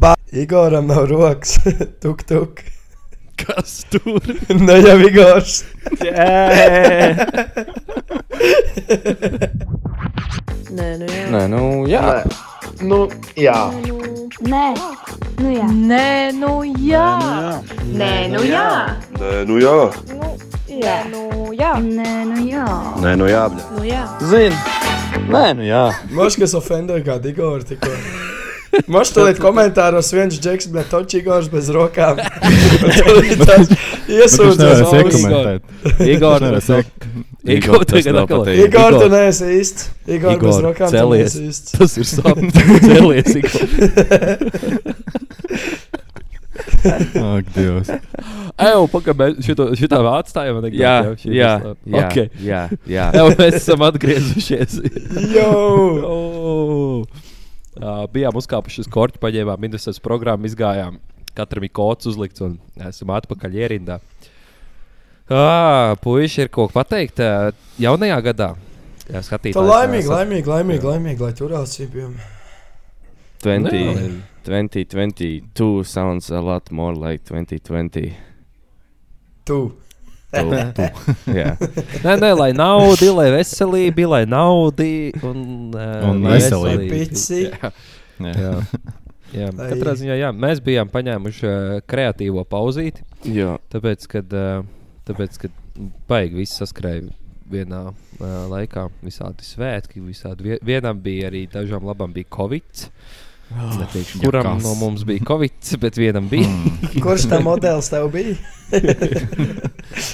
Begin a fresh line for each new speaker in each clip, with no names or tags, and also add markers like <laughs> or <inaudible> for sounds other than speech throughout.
pa... Igoram nav rokas. <laughs> tuk, tuk.
Kas tur?
<laughs> Ne jau Igors.
Nē,
Nē, nu jā.
Nē,
Nu,
nu jā.
jā.
Nē, nu jā.
Nē, nu jā.
Nē, nu jā.
Nē, nu jā.
Nē,
Nē, nu
nu jā.
jā.
Nē, nu jā.
Nu jā.
Zini. Nē, nu jā.
Moš, kas ofendēja kādu Igoru tikko. Moš, tu liet komentāros viens džeks, bet toč Igors bez
<laughs>
rokām. Un tu liet tāds
nevar
Iesūdzas.
Igor.
ausis.
iekomentēt.
Igor,
Nevis
tas Igor,
tas
tagad
nav
atkal.
patīk.
Igor, tu
Igor.
neesi īsts. Igor, bez
Igor,
rokām tu
celies.
neesi īsts.
Tas ir
<laughs>
sapnis. Cēlies, Igor.
Ak, Dievs.
Eju, pagaidi, šito- šitā atstājām.
Jā, jā, jā,
Okay.
jā, jā.
Eju, mēs esam
<laughs>
atgriezušies. <laughs>
Jau!
Oh. Uh, bijām uzkāpuši uz korķa, paņēmām minusas programmu, izgājām. Katram ir kods uzlikts un esam atpakaļ ierindā. Ah, puiši ir ko pateikt ā, jaunajā gadā. Jā, skatīties.
Tā laimīgi, laimīgi, laimīgi, laimīgi, lai turās cipjām.
20, 2022 sounds a lot more like 2020.
Tu.
Tu, tu. Jā.
Nē, nē, lai naudu, lai veselība, lai naudu un, uh,
Un veselība.
Pici.
Jā.
<laughs> Jā. <laughs> Jā.
Lai-
Katrā ziņā jā, mēs bijām paņēmuši uh, kreatīvo pauzīti.
Jā.
Tāpēc, kad, ā, tāpēc, kad baigi viss saskrēja vienā ā, laikā, visādi svētki, visādi vie- vienam bija arī dažām labām bija covid. Neteikšu,
ja
Ah, kuram
kas.
no mums bija covid, <laughs> bet vienam bija.
Kurš tā modelis tev bija?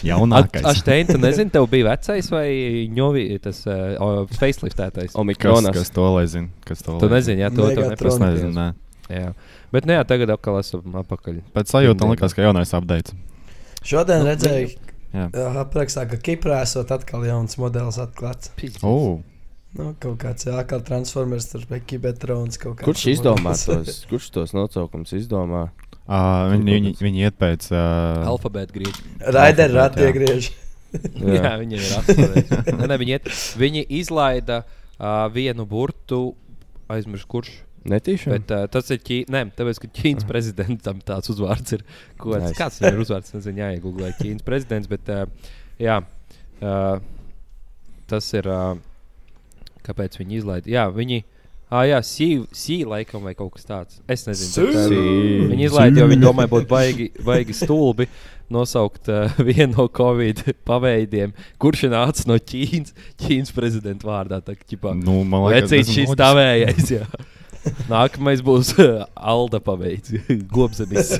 Jaunākais.
Aštēns, nezinu, tev bija vecais vai ņovi, tas uh, faceliftētais.
Kas,
Omikronas.
kas to lai zina? Kas to
Tu
lai
nezini, jā, to, to
Megatron.
Es
neprasnē.
nezinu, nē.
Jā. Bet nē, jā, tagad atkal esam apakaļ.
Pēc sajūta man likās, ka jaunais update.
Šodien
Nu,
redzēju,
Jā.
uh, aprakstā, ka Kiprā esot atkal jauns modelis atklāts.
Oh.
Nu, kaut kāds jā, kā transformers, tur bija kibertrons kaut kāds.
Kurš izdomā tos?
<laughs>
Kurš tos nosaukums izdomā?
Uh, viņi, viņi, viņi iet pēc. Uh,
Alfabēta griež.
Raider ratie
Jā.
griež.
Jā, jā viņiem ir atsevišķi. Nē, nē, viņi, iet, viņi izlaida uh, vienu burtu, aizmirsu kurš.
Netīšām.
Bet, uh, tas ir ķī... Nē, tāpēc, ka Ķīnas prezidentam tāds uzvārds ir. Ko,
Nice.
kāds viņam ir uzvārds? Nezinu, jāiegūlē Ķīnas prezidents. Bet, uh, jā, uh, tas ir. Uh, kāpēc viņi izlaiž? Jā, viņi. Ah, jā, sīkā laikam vai kaut kas tāds. Es nezinu. Bet, uh, Viņi izlaiž, jo viņi domāja, būtu
<laughs>
baigi, baigi stulbi nosaukt uh, <laughs> vienu no Covid paveidiem, kurš nāca no Ķīnas, Ķīnas prezidenta vārdā. Tā, kā ķipā,
nu, man liekas,
Lecīt
diezgan
šis
loģiski.
tavējais. jā. Nākamais būs uh, Alda paveids, <laughs> gobzemis.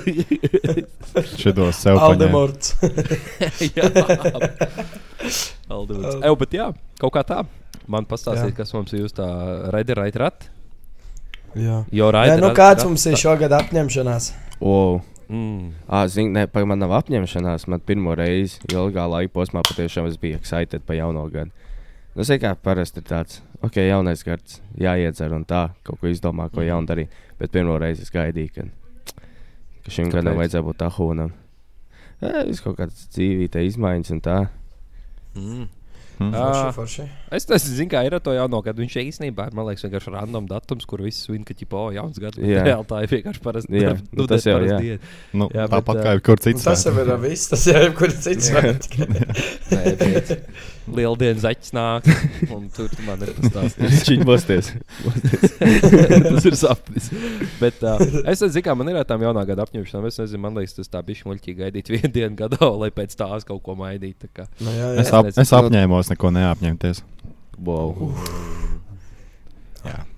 Šitos sev paņēma. <laughs>
Aldemorts.
jā, Alda paveids. Eju, bet jā, kaut kā tā. Man pastāstīt,
Jā.
kas mums ir jūs tā raidi, raidi, rat.
jā.
Jo
Nē,
raidi.
nu kāds mums ir šogad apņemšanās?
Wow.
Mm.
Ah, zini, ne, pagaid, man nav apņemšanās. Man pirmo reizi ilgā laika posmā patiešām es biju excited par jauno gadu. Nu, zini, kā parasti ir tāds, ok, jaunais gads, jāiedzer un tā, kaut ko izdomā, ko jaunu darīt. Bet pirmo reizi es gaidīju, ka, ka šim Kāpēc? gadam
Kāpēc?
vajadzēja būt ahūnam. Es kaut kādas dzīvības izmaiņas un tā.
Mm.
Mm.
Ā,
Forši, forši.
Es nezinu, zin, kā ir ar to jauno gadu. Viņš īstenībā ir man liekas, vienkārši random datums, kur viss svin, ka ķipa, o, jauns gads. bet
Jā.
Reāli tā ir vienkārši parasta. <laughs>
Jā,
diena.
nu tas
tā ir
jau,
parasta
jā. <laughs>
diena.
Nu,
Jā, bet,
Tāpat
ā,
kā jebkur
Un
cits. <laughs>
Tas jau ir viss, tas jau ir kur cits. svētki.
Nē, bet Lieldienas zaķis
<laughs>
nāk, un tur tu man ir pastāstījis.
Viņš bosties.
tas ir sapnis. Bet, uh, es nezinu, kā man ir ar tām jaunā gada apņemšanām. Es nezinu, man liekas, tas tā bija muļķīgi gaidīt <laughs> vienu dienu gadā, lai pēc tās kaut ko mainītu. tā kā.
Nu, jā,
Es,
jā.
ap,
nezinu.
es apņēmos neko neapņemties.
Wow.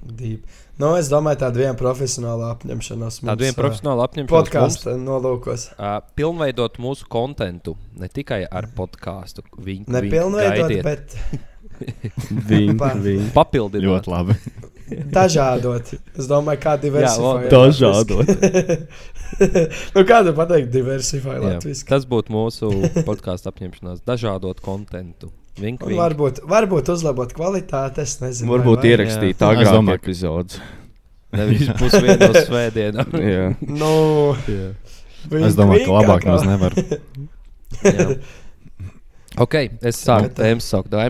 Deep. Nu, es domāju, tāda viena profesionāla apņemšanās.
Tāda viena profesionāla apņemšanās. mums,
Podkāstu nolūkos.
Uh, pilnveidot mūsu kontentu, ne tikai ar podkāstu. Viņu
Nepilnveidot, bet Pa-
Vink, vink.
papildināt.
Ļoti
<laughs>
labi.
Dažādot. Es domāju, kā diversificēt.
labi.
<laughs> nu, kāda pateikt, diversificēt
Jā,
latviešu?
Tas būtu mūsu podkāstu apņemšanās, dažādot kontentu. Vink, vink.
Varbūt, varbūt uzlabot kvalitāti, es nezinu.
Varbūt
vai- vai-
ierakstīt
Nu, es
tādu
domāju, ka-
epizodu.
Nevis pusdienas
<laughs>
svētdienā.
Jā.
Nu,
Es domāju, ka labāk mums
<laughs>
nevar.
Jā. ok, es sāku
Bet, eh,
tēmu saukt. Dai.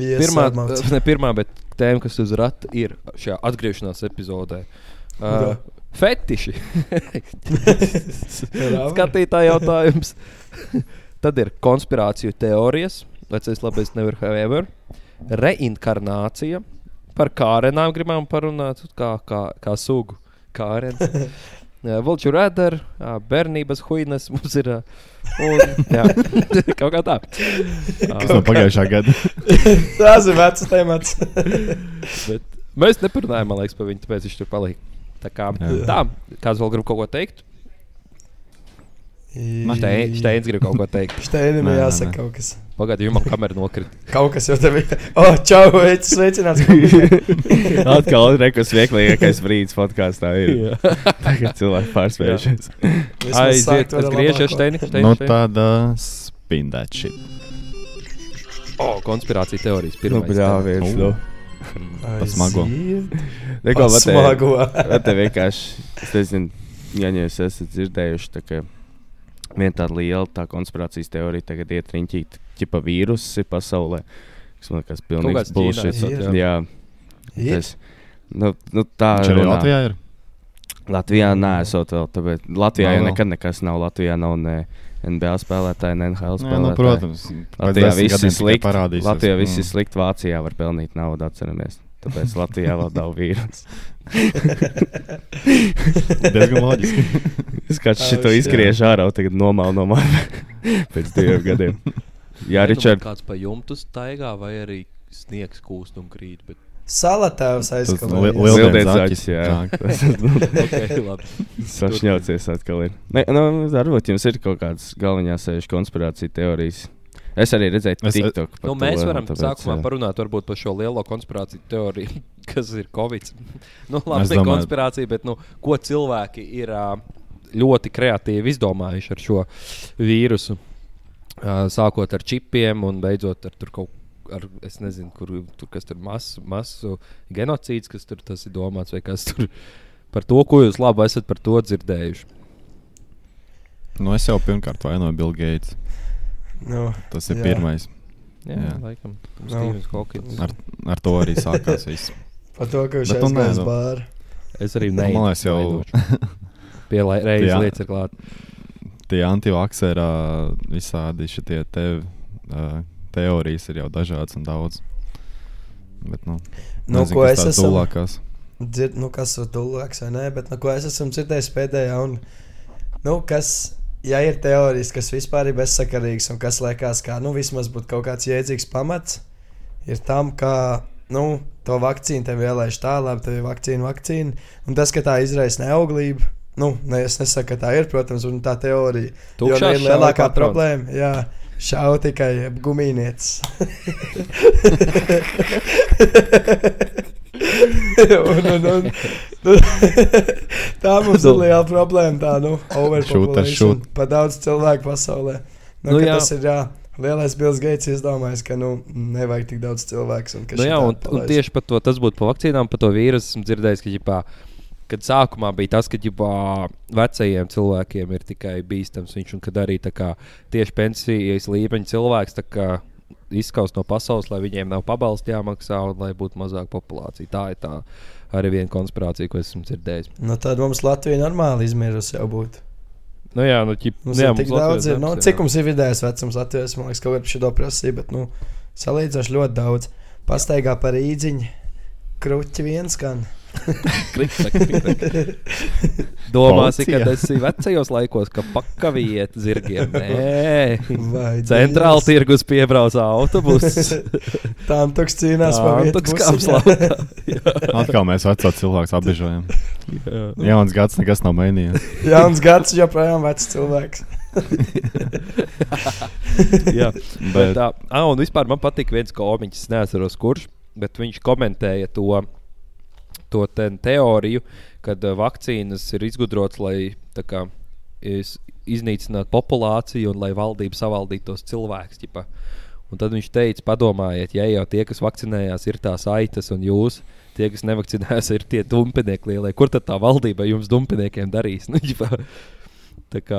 Yes,
Pirmā, <laughs>
Arnolds.
ne pirmā, bet tēma, kas uz rata ir šajā atgriešanās epizodē. Uh,
Jā.
Fetiši. Skatītāji jautājums. <laughs> Tad ir konspirāciju teorijas, vecais labais never have ever, reinkarnācija. Par kārenām gribam parunāt, kā, kā, kā sugu. Kārenas. Vulču radar, ā, bērnības huīnas mums ir. ā, Un, jā, <laughs> kaut kā tā.
Tas no pagājušā gada.
Tas ir vecs temats.
Bet mēs neparunājām, man liekas, par viņu, tāpēc viņš tur palika. Tā kā,
Jā.
tā, kāds vēl grib kaut ko teikt? Štei- Šteins grib kaut ko teikt.
Šteinim ir
Nē, nē,
jāsaka
nē.
kaut kas.
Pagaidiet, jums kamera nokrita.
<laughs> Kaut kas jau tev ir. O, oh, čau, veids, sveicināts.
<laughs>
<laughs>
Atkal rekas vieglākais brīdis podkāstā ir. Tagad cilvēki pārspējušies.
Vismaz
Aiziet,
sākt ar
tas
labāko.
griežas Šteinis.
Nu, tāda spindēta.
O, konspirācija teorijas
Nu,
pirmā.
brā, viens, nu.
Pa smago.
Aiziet,
Neko,
Pa
bet te-
smago.
Bet te vienkārši, es nezinu, ja nu jūs esat dzirdējuši, tā kā viena tāda liela tā konspirācijas teorija tagad iet riņķīt, ķipa vīrusi pasaulē. Tas man liekas,
Kaut
pilnīgs
kāds
bullshit.
Ķīnā
Jā,
esot,
jā.
Ir? <laughs>
tas. Nu, nu tā
Viņš arī
runā.
Latvijā Mm. ir.
Latvijā nesot vēl, tāpēc Latvijā
Nav
jau
vēl.
nekad nekas nav. Latvijā nav ne NBA spēlētāji, ne NHL
Jā, nu,
spēlētāji.
protams.
Latvijā viss ir slikti.
Parādīs.
Latvijā viss
Mm.
ir slikti. Vācijā var pelnīt naudu, atceramies. Tāpēc Latvijā vēl nav vīrusu.
Diezgan loģiski.
Es kā
Ai,
šito
šitā.
izgriež ārā, un tagad nomālu no manis <laughs> pēc diviem gadiem.
nu,
Jā, Ričard,
Kāds pa jumtu staigā vai arī sniegs kūst un krīt. Bet...
Salatēvs
Tas ir
aizkalējies.
liel-
liels
Lieldienzaķis,
zaķis.
jā.
jā.
Okay, labi.
sašņaucies atkal. ir. Ne, nu, varbūt jums ir kaut kādas galvenās sēžu konspirācija teorijas. Es eh, arī redzēju, ka
Es-
TikTok. par
Nu,
to,
mēs varam
tāpēc,
sākumā
jā.
parunāt varbūt, par šo lielo konspirāciju teoriju, <laughs> kas ir Covid. <laughs> nu, labi,
Es
ne
domāju-
konspirācija, bet nu, ko cilvēki ir ā, ļoti kreatīvi izdomājuši ar šo vīrusu. Ā, Sākot ar čipiem un beidzot ar tur kaut ko. Ar, es nezinu, kur tur kas tur masu, masu genocīds, kas tur tas ir domāts, vai kas tur <laughs> par to, ko jūs labi esat par to dzirdējuši.
<laughs> Nu, es jau pirmkārt vainoju Bill Gates.
Nu,
Tas ir
Jā.
pirmais.
Jā,
Jā.
laikam.
Nu.
Stīvens Hokins.
Ar, ar to arī sākās viss.
par to, ka viņš
Bet nu tu
aizgājis
nezini.
bāru.
Es arī
Man
nevienu.
liekas, jau
Pielaidu
<laughs> Jā.
lietas ir klāta.
tie antivakcēra visādi šitie te, uh, teorijas ir jau dažādas un daudz. Bet, nu,
Nu,
nezinu,
ko
kas
es
tās
esmu-
tuvākās.
Dzird, nu, kas ir tuvāks vai nē, bet nu, ko es esmu dzirdējis pēdējā. Un, nu, kas, ja ir teorijas, kas vispār ir bezsakarīgas un kas liekas, kā nu, vismaz būtu kaut kāds jēdzīgs pamats, ir tam, ka nu, to vakcīnu tev ielaiž tā, labi, tev ir vakcīna, vakcīna. Un tas, ka tā izraisa neauglību. Nu, ne, es nesaku, ka tā ir, protams, un tā teorija. Jo tā ir lielākā problēma. Jā, šau tikai gumijniecis. un, un, un, nu, tā
Nu.
mums ir liela problēma. Tā nu,
Šūta,
overpopulation.
šūta.
Pa daudz cilvēku pasaulē. Nu,
Nu
nu,
jā.
tas ir jā, lielais Bills Gates izdomājis, ka nu, nevajag tik daudz cilvēku. Un, ka
Nu, jā,
šitā
un, un
palaist.
tieši par to tas būtu par vakcīnām, par to vīrusu. Esmu dzirdējis, ka ģipā, kad sākumā bija tas, ka ģipā, vecajiem cilvēkiem ir tikai bīstams viņš, un kad arī tā kā, tieši pensijas līmeņa cilvēks tā kā, izskaus no pasaules, lai viņiem nav pabalsti jāmaksā un lai būtu mazāk populācija. Tā ir tā arī viena konspirācija, ko esmu dzirdējis.
nu, tad mums Latvija normāli izmirusi jau būtu.
Nu, jā, nu, ģip,
Mums jā, ir tik daudz, ir, nu, cik mums ir vidējais vecums Latvijā. Man liekas, ka kaut kāda šī prasība, bet nu, salīdzinoši ļoti daudz. Pastaigā par īdziņu, kruķi viens gan.
Domāsi, ka
Policija.
tas ir vecajos laikos, ka pakaviet zirgiem. Nē,
<laughs> Vai
Centrāla tirgus piebrauca
<laughs>
autobuss.
Tām toks cīnās par vietu.
Antuks kāps
busiņā.
laukā.
Atkal mēs veco cilvēku apbežojam.
Jā.
Jauns gads nekas nav mainījies.
<laughs> Jauns gads, joprojām vecs cilvēks.
<laughs> Jā. Bet,
Bet,
tā, ah, un vispār man patīk viens komiķis, es neatceros kurš, bet viņš komentēja to, to te teoriju, kad ā, vakcīnas ir izgudrotas, lai tā kā, iz- iznīcinātu populāciju un lai valdība savaldītos cilvēks. Ķipa. Un tad viņš teica, padomājiet, ja jau tie, kas vakcinējās, ir tās aitas un jūs. Tie, kas nevakcinējās, ir tie dumpinieki lielie. Kur tad tā valdība jums dumpiniekiem darīs? <laughs> Nu, ģipā, tā kā,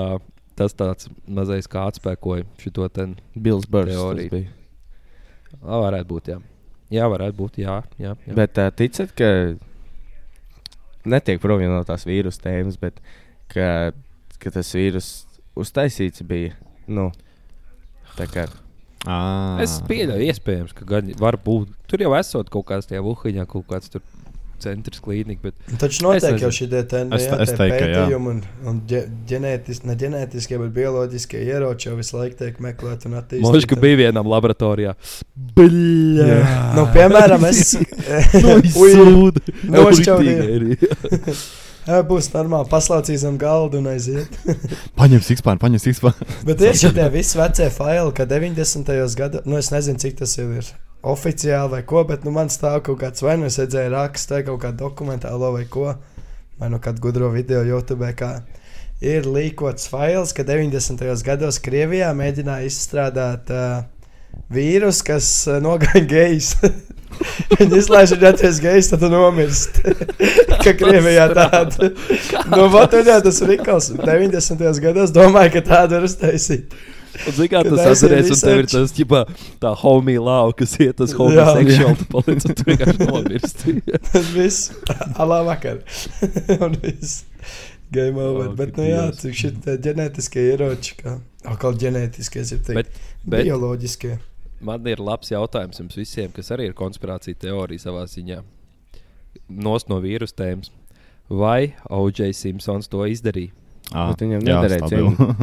tas tāds mazais kā atspēkoja šo te
Bills Burns.
Teorija.
tas bija.
Jā, varētu būt. Jā, jā varētu būt. Jā, jā, jā.
Bet uh, ticat, ka netiek prom jau no tās vīrusu tēmas, bet ka, ka tas vīrus uztaisīts bija. Nu, tā kā
Ā,
Es pieļauju, iespējams, ka gan var būt. Tur jau esot kaut kāds tajā Vuhaņā, kaut kāds tur centrs klīnika, bet
Taču notiek
nezinu.
jau šī tēma,
Es-
jā,
es
tie
teiktu, ka jā.
pētījumi un, un ģe, ģenētis, ne ģenētiskie, bet bioloģiskie ieroči jau visu laiku tiek meklēti un attīstīti.
Možda, ka bija vienam laboratorijā. Bļā!
Nu, piemēram,
<laughs>
es
Nu,
<laughs>
Noizsūdu!
nošķaudīju. Jā, būs normāli, paslaucīs zem galda un aiziet.
Paņem sikspānu, paņem sikspānu.
Bet ir šie tie visi vecie faili, ka 90. gados, nu es nezinu, cik tas jau ir oficiāli vai ko, bet nu man stāv kaut kāds vai nu es redzēju rakstu, vai kaut kādu dokumentālo vai ko, vai nu kādu gudro video YouTube. Kā. Ir līkots fails, ka 90. gados Krievijā mēģināja izstrādāt uh, vīrusu, kas uh, nogalina gejs. <laughs> Viņi izlaiž no ģērbties gejs, tad tu nomirst. <laughs> Kā Krievijā tāda. Nu, vat, un jā, tas ir Rikals. 90. gados domāju, ka tādu var uztaisīt.
Zini, kā
Kad
tas
aiziet
atceries, un tev ir
research.
tas, ģipā, tā homija lauva, kas iet uz homija
Jā.
sekšuāli, tu paliec, un tu vienkārši <laughs> nomirsti.
Tas viss alā vakar. <laughs> un viss. Game over.
Ak,
Oh, Bet, nu jā,
Dievs.
cik šie tie ģenētiskie ieroči, kā atkal ģenētiskie, es jau
Bet-
teiktu,
bet-
bioloģiskie.
Man ir labs jautājums jums visiem, kas arī ir konspirācija teorija savā ziņā. Nost no vīrusu tēmas. Vai O.J. Simpsons to izdarīja?
Bet viņam nederēja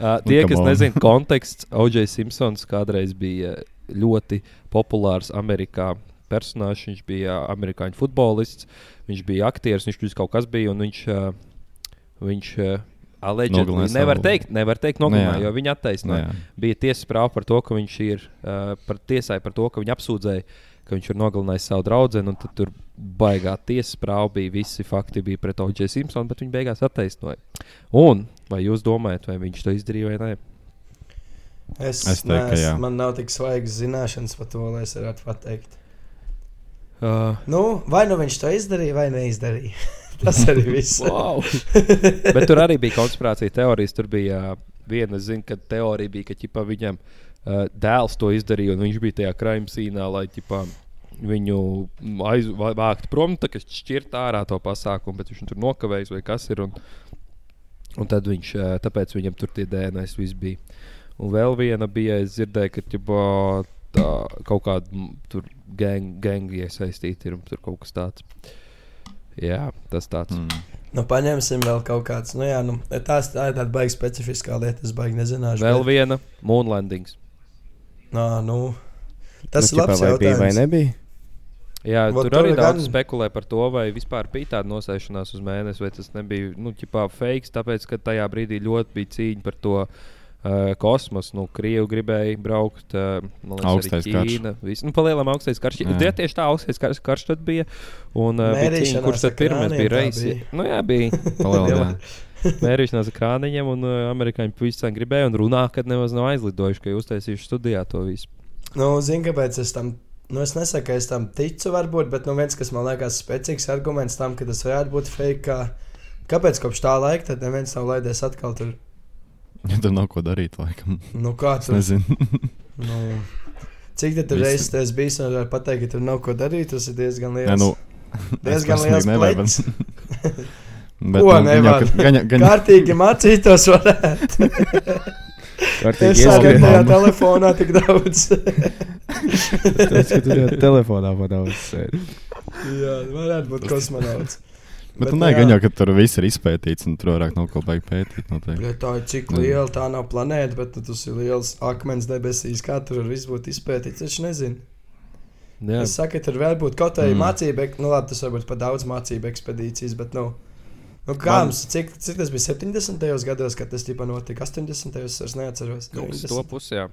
Uh, tie,
Nu, come
kas
on.
nezina kontekstu, O.J. Simpsons kādreiz bija ļoti populārs Amerikā. Personāžs, viņš bija amerikāņu futbolists, viņš bija aktieris, viņš bija kaut kas bija. un Viņš, uh, viņš uh,
Nogalināja
aleģiski
savu-
nevar teikt, nevar teikt, nogalināja,
<laughs> Nu jā.
jo viņa attaisnoja.
<laughs>
Jā.
Bija tiesas prāva par to, ka viņš ir uh, par tiesai par to, ka viņa apsūdzēja, ka viņš ir nogalinājis savu draugu. Tad tur baigā tiesas prāva bija visi fakti bija pret O.J. Simpsonu, bet viņi beigās attaisnoja. Un vai jūs domājat, vai viņš to izdarīja vai nē?
Es,
Es
es
teiktu,
teiktu,
ka
es,
jā.
man nav tik svaigas zināšanas par to, lai es varētu pateikt.
Uh,
Nu, vai nu viņš to izdarīja, vai neizdarīja. <laughs> Tas arī viss.
<laughs> Wow. Bet tur arī bija konspirācija teorijas. Tur bija ā, viena zina, ka teorija bija, ka ķipa, viņam uh, dēls to izdarīja, un viņš bija tajā krājumsīnā, lai ķipa, viņu aizvākt prom, tā kā šķirt ārā to pasākumu, bet viņš tur nokavējas vai kas ir. Un, un tad viņš, ā, tāpēc viņam tur tie DNS viss bija. Un vēl viena bija, es dzirdēju, ka ķipa, tā, kaut kāda tur gang, gangi iesaistīti ir un tur kaut kas tāds. Jā, tas tāds. Mm.
Nu, paņemsim vēl kaut kāds. Nu, jā, nu, tās, tā ir tāda baigta specifiskā lieta, es baigi nezināšu.
Vēl
bet-
viena moonlandings.
Nā, nu, tas
nu,
ir labs
ķipā, vai bija vai
jautājums.
nebija.
Jā,
Vot
tur
tur
arī daudz
gan-
spekulē par to, vai vispār bija tāda nosēšanās uz mēnesi, vai tas nebija nu, ķipā, fakes. Tāpēc, ka tajā brīdī ļoti bija cīņa par to uh, kosmosu. Nu, Krievi gribēja braukt uh,
Augstais
arī Ķīna. Viss, nu, Palielam augstais karš.
Jā.
Jā, tieši tā augstais karš, karš tad bija. Un, uh, bija cīņa,
Mērīšanās
kurš
ar
tad pirmais
krāniem
bija
tā
reizes?
bija.
Nu, jā, bija
<laughs>
Palielinājām.
mērīšanās ar krāniņiem, un uh, amerikāņi pavisam gribēja un runā, kad nemaz nav aizlidojuši, ka jūs taisīšu studijā to visu.
Nu, zini, kāpēc es tam, nu, es nesaku, ka es tam ticu, varbūt, bet nu, viens, kas man liekas spēcīgs arguments tam, ka tas varētu būt fake. Kā, kāpēc kopš tā laika tad neviens nav laidies atkal tur?
Ja tur nav ko darīt, laikam.
Nu, kā
Es
tur?
nezinu.
Nu, cik tad
Visi-
reizes tas bijis, un var pateikt, ka tur nav ko darīt, tas ir diezgan liels.
Nē, nu, es
diezgan
personīgi
liels
nevaru,
pleķis. <laughs>
Bet,
Ko
nu, gan jau,
nevar?
ka- gan jau- gan jau-
Kārtīgi mācītos, varētu.
Var
Es
teikt,
arī
arī
ieskrien.
ieskrien.
tajā telefonā tik daudz. <laughs>
Tas, ka tur jau telefonā padaudzis.
Jā, varētu būt kosmonauts.
Bet,
Bet
nu,
nu
nē,
jā.
gan jau, ka tur viss ir izpētīts, un tur vairāk nav ko baigt pētīt. Noteikti.
Ja tā ir cik
Mm.
liela, tā nav planēta, bet nu, tas ir liels akmens debesīs. Kā tur var viss būt izpētīts, es nezinu.
Jā,
Es saku, ka tur var būt kaut kāda
Mm.
mm. mācība, ek- nu labi, tas varbūt pat daudz mācību ekspedīcijas, bet nu. Nu, kā
Man-
mums, cik, cik tas bija 70. gados, kad tas tika notika 80. gados, es neatceros.
kaut kas
90.
to pusē.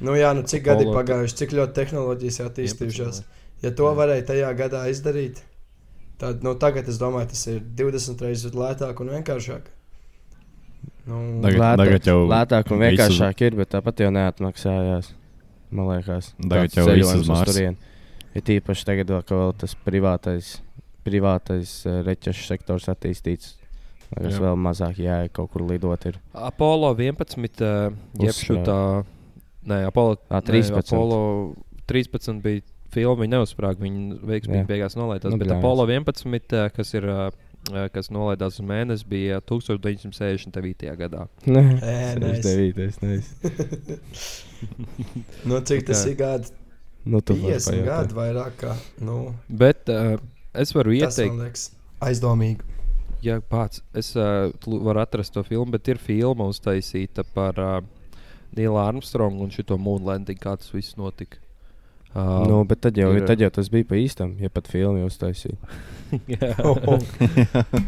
Nu, jā, nu cik gadi ir
Apollo-
pagājuši, cik ļoti tehnoloģijas ir attīstījušās. Ja to
Jā.
varēja tajā gadā izdarīt, tad nu, tagad es domāju, tas ir 20 reizes lētāk un vienkāršāk. Nu,
Tagad- tagad jau
lētāk un
visu-
vienkāršāk ir, bet tāpat jau neatmaksājās. Man liekas,
Tagad
tāds
jau
ceļojums
viss uz
uz
Marsu.
turieni. Ir īpaši tagad, vēl, ka vēl tas privātais, privātais eh, reķešu sektors attīstīts. Tas
Jā.
vēl mazāk jāja kaut kur lidot. <laughs> Ir.
Apollo 11, eh, jeb
Uzsprāga.
šitā, nē, Apollo,
Ā,
nē,
13.
Apollo 13 bija filma viņa neuzsprāga. Viņa
Jā.
veiksmīgi beigās nolaidās.
Nu,
Nu, bet
bļāvis.
Apollo 11, eh, kas ir. eh, eh, kas nolaidās uz mēnesi, bija 1969. gadā.
Nē,
Ē, nice.
69.
<laughs>
Nice.
Nu, cik tas
Tā.
ir gadi?
Nu, tu vari
50
pajautāt.
gadi vairāk kā. Nu,
Bet uh, es varu
tas
ieteikt,
man liekas aizdomīgi.
Ja pats es uh, varu atrast to filmu, bet ir filma uztaisīta par uh, Nīlu Armstrongu un šo mūnlandingu, kā tas viss notika. Uh,
Nu, bet tad jau,
ir-
tad jau tas bija pa īstam, ja pat filmu uztaisīja. <laughs>
<laughs>
Oh,
jā,
Oh,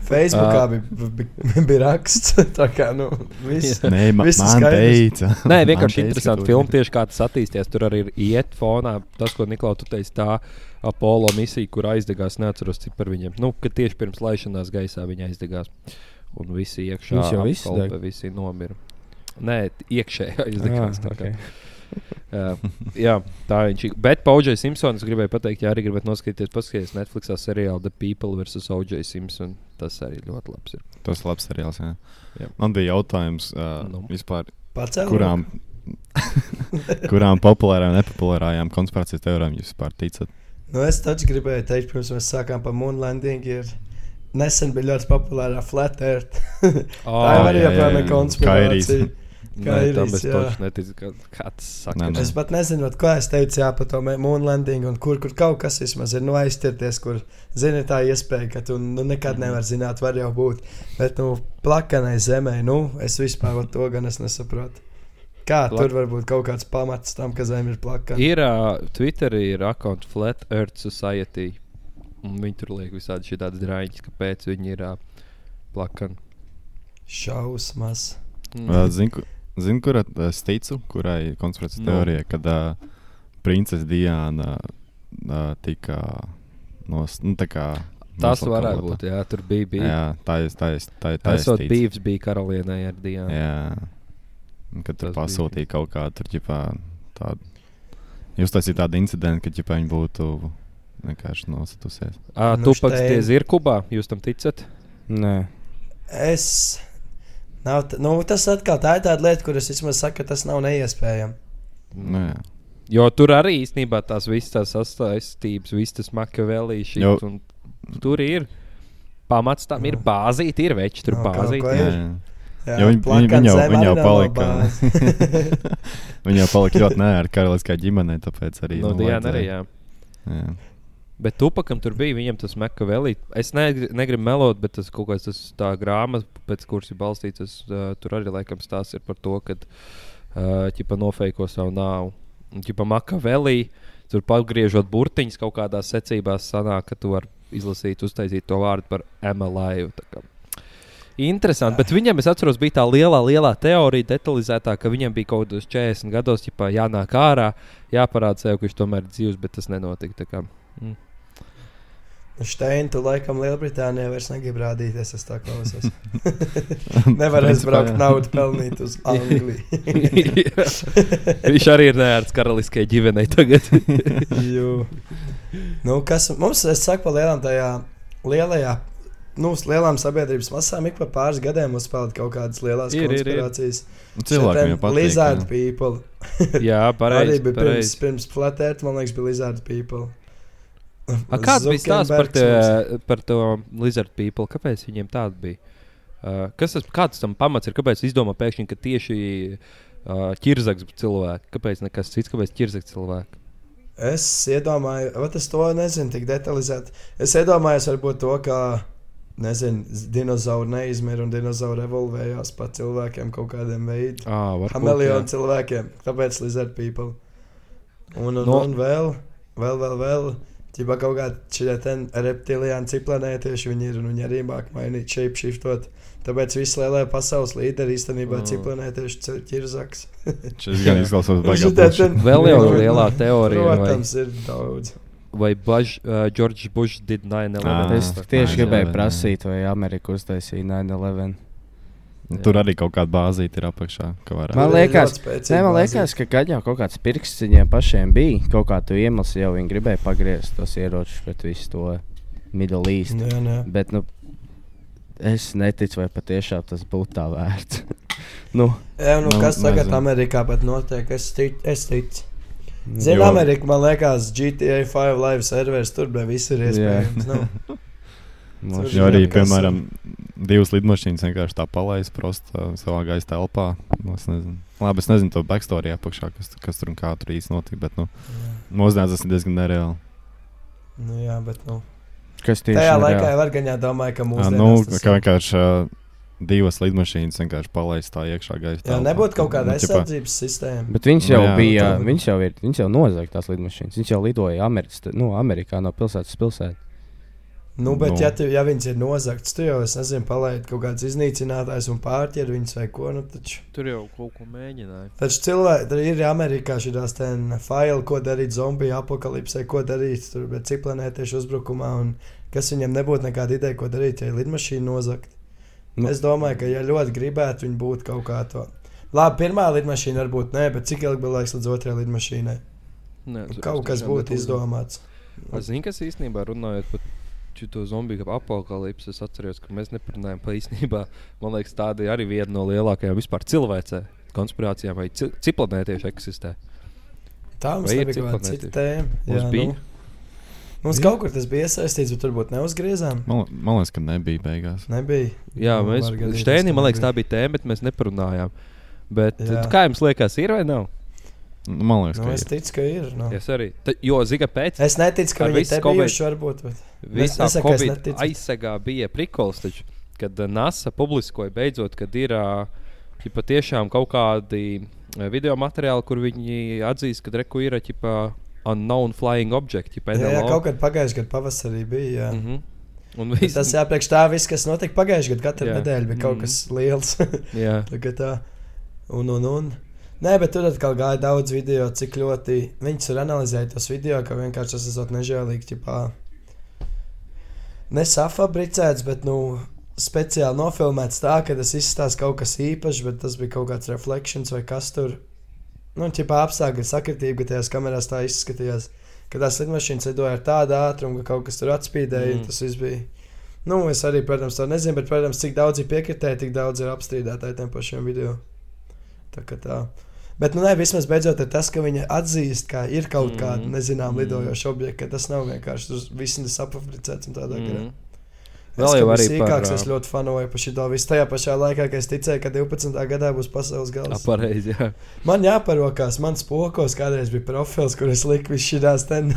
Facebookā bija, bija, bija raksts. <laughs> Tā kā, nu, viss.
Nē, ma
Viss ir
man
skaidrs.
teica.
Nē,
Man
vienkārši
teica, ka
interesanti
tu-
filma, tieši kā tas attīstījās. Tur arī ir iet fonā tas, ko Niklaus teica, tā Apollo misija, kur aizdegās, neatceros, cik par viņiem. Nu, ka tieši pirms laišanās gaisā viņi aizdegās. Un visi iekšā
Viņš jau viss
apkalpe,
deg?
visi nomira. Nē, t- iekšēji <laughs> aizdegās.
Ah,
tā kā.
ok.
Uh, jā, tā viņš ir. Bet Paudžai Simpsons gribēja pateikt, ja arī gribat noskatīties, paskatieties Netflix seriālu The People vs. O.J. Simpson. Tas arī ļoti labs. Ir.
Tas labs seriāls. Jā.
Jā.
Man bija jautājums, uh,
Nu.
nu. vispār,
Pacēl
kurām,
<laughs>
kurām populārām un nepopulārām konspirācijas teorijām jūs vispār ticat?
Nu, es taču gribēju teikt, pirms mēs sākām par moonlandingu. Ir... Nesen bija ļoti populāra Flat Earth. Tā
jā,
Ah,
jau arī
jā,
joprojām
jā,
ir
jā.
konspirācija.
Nē, tam
Kairīs,
es
jā.
taču neticu, ka kāds saka.
Nē, nē.
Es pat nezinu, vat, ko es teicu jā, par to moonlandingu, un kur, kur kaut kas vismaz ir nu, aiztirties, kur zini tā iespēja, ka tu nu,
Mm.
nekad nevar zināt, var jau būt. Bet, nu, plakanai zemē, nu, es vispār vat to gan es nesaprotu. Kā
Plak-
Plak... tur var būt kaut kāds pamats tam, ka zeme ir plakana?
Ir uh, Twitterī ir akaunt Flat Earth Society. Un viņi tur liek visādi šādas drāņas, kāpēc viņi ir uh, plakani.
Šausmas. Mm.
Uh, Zinu, ku- zinu, kurai es ticu, kurai konspirācijas
Nu.
no. teorijai, kad uh, princese Diana uh, tika nos, nu, tā kā,
Tas
noslapkavota.
varētu būt. Jā, tur bija bijis.
Jā, tā ir tā, ir- tā, ir- tā
Tā
ir
esot
ticu.
bijis, bija karalienē ar Dienu.
Jā, Un kad tur
Tas bija
pasūtīja kaut kādu tur, ģipā, tādu. Jūs taisījāt tādu incidentu, ka ģipā, viņa būtu vienkārši nosatusies.
Uh,
Nu,
tu pats
štein.
tiesi ir Kubā, jūs tam ticat?
Nē,
Es. Nav, t- nu, tas atkal tā ir tāda lieta, kur es vismaz saku, ka tas nav neiespējami.
Nu, jā.
Jo tur arī īstenībā tās visas tās sasaistības, visas tas
Jo.
makavēlīšas. Tur ir pamats tam, ir
Jā.
bāzīte, ir veči, tur
Nav kaut
bazīte.
ko
Jā,
ir.
jā. Jo viņi- viņi-
plakana
viņi jau-
zeme arī
viņi
nav
jau
no
palika. <laughs>
<laughs> bāzes.
Viņa jau palika ļoti nērta karaliskajā ģimenē, tāpēc arī. nu,
No Nu, Diana arī,
vajadzēja-
jā.
jā.
Bet tupakam tur bija, viņam tas makavēlī. Es negri, negribu melot, bet tas kaut kāds tas tā grāmata, pēc kuras ir balstīts, tas, uh, tur arī laikam stāsts ir par to, ka ķipa uh, nofeiko savu nāvu. Ķipa makavēlī, tur pagriežot burtiņus kaut kādā secībā, sanāk, ka tu vari izlasīt, uztaisīt to vārdu par MLI. Interesanti, bet viņam, es atceros, bija tā lielā, lielā teorija, detalizētā, ka viņam bija kaut kādos 40 gados, ja jānāk ārā, jāparāda sev, ka viņš tomēr ir dzīvs, bet tas nenotika. tā kā.
Šteini, tu laikam Lielbritānijā vairs negribi rādīties, es tā
<laughs>
klausos. Nevar aizbraukt,
jā.
naudu pelnīt
<laughs>
uz Angliju.
Jā. Viņš arī ir nērts karaliskajai ģimenei <laughs> tagad.
Jū. nu, kas mums, es saku, pa lielām tajā lielajā, nu, uz lielām sabiedrības masām ik pa pāris gadiem uzspēlēt kaut kādas lielas
Ir, ir, ir.
konspirācijas.
Cilvēkiem jau patīk.
Lizard
jā.
people.
Jā,
Pareiz,
pareizi.
arī bija pirms,
pareizi.
pirms Flat Earth, man liekas, bija Lizard people.
A, Kāds bija stāsts par, te,
Zuckerbergs
par to Lizard People? Kāpēc viņiem tāds bija? Uh, kas tas, kāds tam pamats ir? Kāpēc izdomā pēkšņi, ka tieši uh, ķirzaks cilvēki? Kāpēc nekas cits? Kāpēc ķirzaks cilvēki?
Es iedomājos, bet es to nezinu tik detalizēti. Es iedomājos, varbūt to, ka nezinu, z- dinozauri neizmirst un dinozauri evolūcijās pa cilvēkiem kaut kādiem veidiem.
Ah, var būt,
Hamiljonu
jā.
cilvēkiem, tāpēc Lizard people. Un, un,
No-
no. un vēl, vēl, vēl, vēl. Ķipa kaut kāda šāda reptilīna ciplanētieši viņi ir un viņi arī māk mainīt shape shiftot. Tāpēc visi lielie pasaules līderi īstenībā
Mm.
mm. ciplanētieši ir zaks.
Šis
<laughs>
gan izklausās
Šitā ten-
baigās.
Vēl
<laughs>
jau
Nu,
lielā teorija, vai-
Protams, ir daudz.
Vai Baž- uh, George Bush did 9-11?
Ah,
es
tā
tieši
ir
gribēju
jā, jā.
prasīt, vai Amerika uztaisīja 9-11.
Tur arī kaut kāda bāzīte ir apakšā. ka varētu-
Man
Tur ir
liekas-
ļoti spēcīga
Nē, man
bāzīte.
liekas, ka gan jau kaut kāds pirksts viņiem pašiem bija. Kaut kā tu iemesli jau viņi gribēja pagriezt tos ieročus pret visu to Middle East.
Jā, nē.
Bet, nu, es neticu, vai patiešām tas būtu tā vērts. <laughs> nu,
Jā, nu,
Nu,
kas tagad
nezinu.
Amerikā pat notiek? Es ticu, es ticu. Zinu,
Jo-
Amerikā, man liekas, GTA 5 live serveris tur bija viss ir iespējams.
<laughs>
Nu,
Moš-
Jā.
Jo arī,
Kas-
piemēram, divas lidmašīnas vienkārši tā palaist prosta savā gaisa telpā. Nu, es nezinu. Labi, es nezinu to backstory apakšā, kas, kas tur un kā tur īsti notika, bet, nu, mūsdienās tas ir diezgan nereāli.
nu, jā, bet nu.
Kas tieši
tajā
ir
laikā
reāli?
jau Argaņā domāja, ka
Ā,
mūsu
Nu, kā vienkārši ā, divas lidmašīnas vienkārši palaist tā iekšā gaisa
Jā,
telpā.
nebūtu kaut kāda
Nu, ķipā,
aizsardzības sistēma.
Bet viņš jau
Jā.
Nu,
bija,
tā-
viņš jau ir, viņš jau nozaga tās lidmašīnas. Viņš jau lidoja Amerikas, nu, Amerikā no pilsētas uz pilsētu.
Nu, bet,
Nu.
ja, tu, ja viņas ir nozagts, tu jau, es nezinu, palaid kaut kāds iznīcinātājs un pārķer viņas vai ko. Nu, taču,
Tur jau kaut ko mēģināja.
taču cilvēki, tur ir Amerikā šīs faili, ko darīt zombiju apakalipsē, ko darīt tur, bet ciplanētieši uzbrukumā. Un kas viņam nebūtu nekāda ideja, ko darīt, ja ir lidmašīna nozagta.
Nu.
Nu. Es domāju, ka, ja ļoti gribētu, viņi būtu kaut kā to. Labi, pirmā lidmašīna varbūt nē, bet cik ilgi bija laiks līdz otrajai lidmašīnai?
Nē,
Nu,
tur
Kaut
es
kas
tiešām
būtu
netu-
izdomāts.
Es zinu, kas īstenībā runājot par šo zombiju apakālipsi. Es atceros, ka mēs neparunājām par īstenībā. Man liekas, tāda ir arī viena no lielākajām vispār cilvēcē konspirācijām vai ci- ciplanētieši eksistē.
Tā mums
Vai ir
nebija kaut kāda
ciplanēti?
cita tēma.
Mums bija.
Nu, mums kaut kur tas bija iesaistīts, bet turbūt neuzgriezām.
Man, li- man liekas, ka nebija beigās.
Nebija.
Jā,
Nu,
mēs
var gadīties,
Štēnī,
ka
man liekas, tā
nebija.
bija tēma, bet mēs neparunājām. Bet,
Jā.
kā jums liekas, ir vai nav?
Nu, Man liekas,
Nu,
ka
es
ir.
ticu, ka ir. Nu.
Es arī. Ta, jo, zina, pēc
Es neticu, ka
Ar
viņi
visu
te
Covid.
bijuši. Varbūt, bet...
Visā
nesaku, es
Covid
neticu.
aizsegā bija prikols, taču, kad ā, NASA publiskoja beidzot, kad ir ā, ja patiešām kaut kādi ā, video materiāli, kur viņi atzīst, ka reku ir eh, ķipa, unknown flying object. Ķipa,
Jā, jā,
NLO.
kaut kad pagājušajā gadā pavasarī bija. Jā. Mm.
Mhm. Un
Bet
viss
Tas jāpriekš tā, viss, kas notika pagājušajā gadā, katra
Jā.
nedēļa bija kaut
Mhm.
kas liels. <laughs>
Jā,
Tagad tā, un, un, un. Nē, bet tur atkal gāja daudz video, cik ļoti viņi ir analizējuši tos video, ka vienkārši tas ir nežēlīgi. Ķipā. Nesafabricēts, bet nu, speciāli nofilmēts tā, ka tas izstāsta kaut kas īpašs, bet tas bija kaut kāds refleksions vai kas tur. Nu, ķipā apstākļi sakritība, ka tajās kamerās tā izskatījās. Kad tās lidmašīnas lidoja ar tādu ātrumu, ka kaut kas tur atspīdēja,
Mm.
mm. tas viss bija. Nu, es arī, protams, to nezinu, bet, protams, cik daudz ir piekritēji, tik daudz ir apstrīdētāji tiem pašiem video. Tā kā tā. Bet, nu, nē, vismaz beidzot ir tas, ka viņi atzīst, ka ir kaut
Mhm.
mm. kāda nezināma
Mhm.
lidojoša objekta, ka tas nav vienkārši tur viss ir apapricēts un tādā garā.
Mhm.
Es,
Vēl
kad
jau
biju
arī par,
sīkāks,
ā,
es ļoti fanoju par šito visu. Tajā pašā laikā, kad es ticēju, ka 12. gadā būs pasaules
tā
gals.
pareizi. jā.
Man jāparokās, man spokos kādreiz bija profils, kur es liku visu šīs
<laughs>
ten.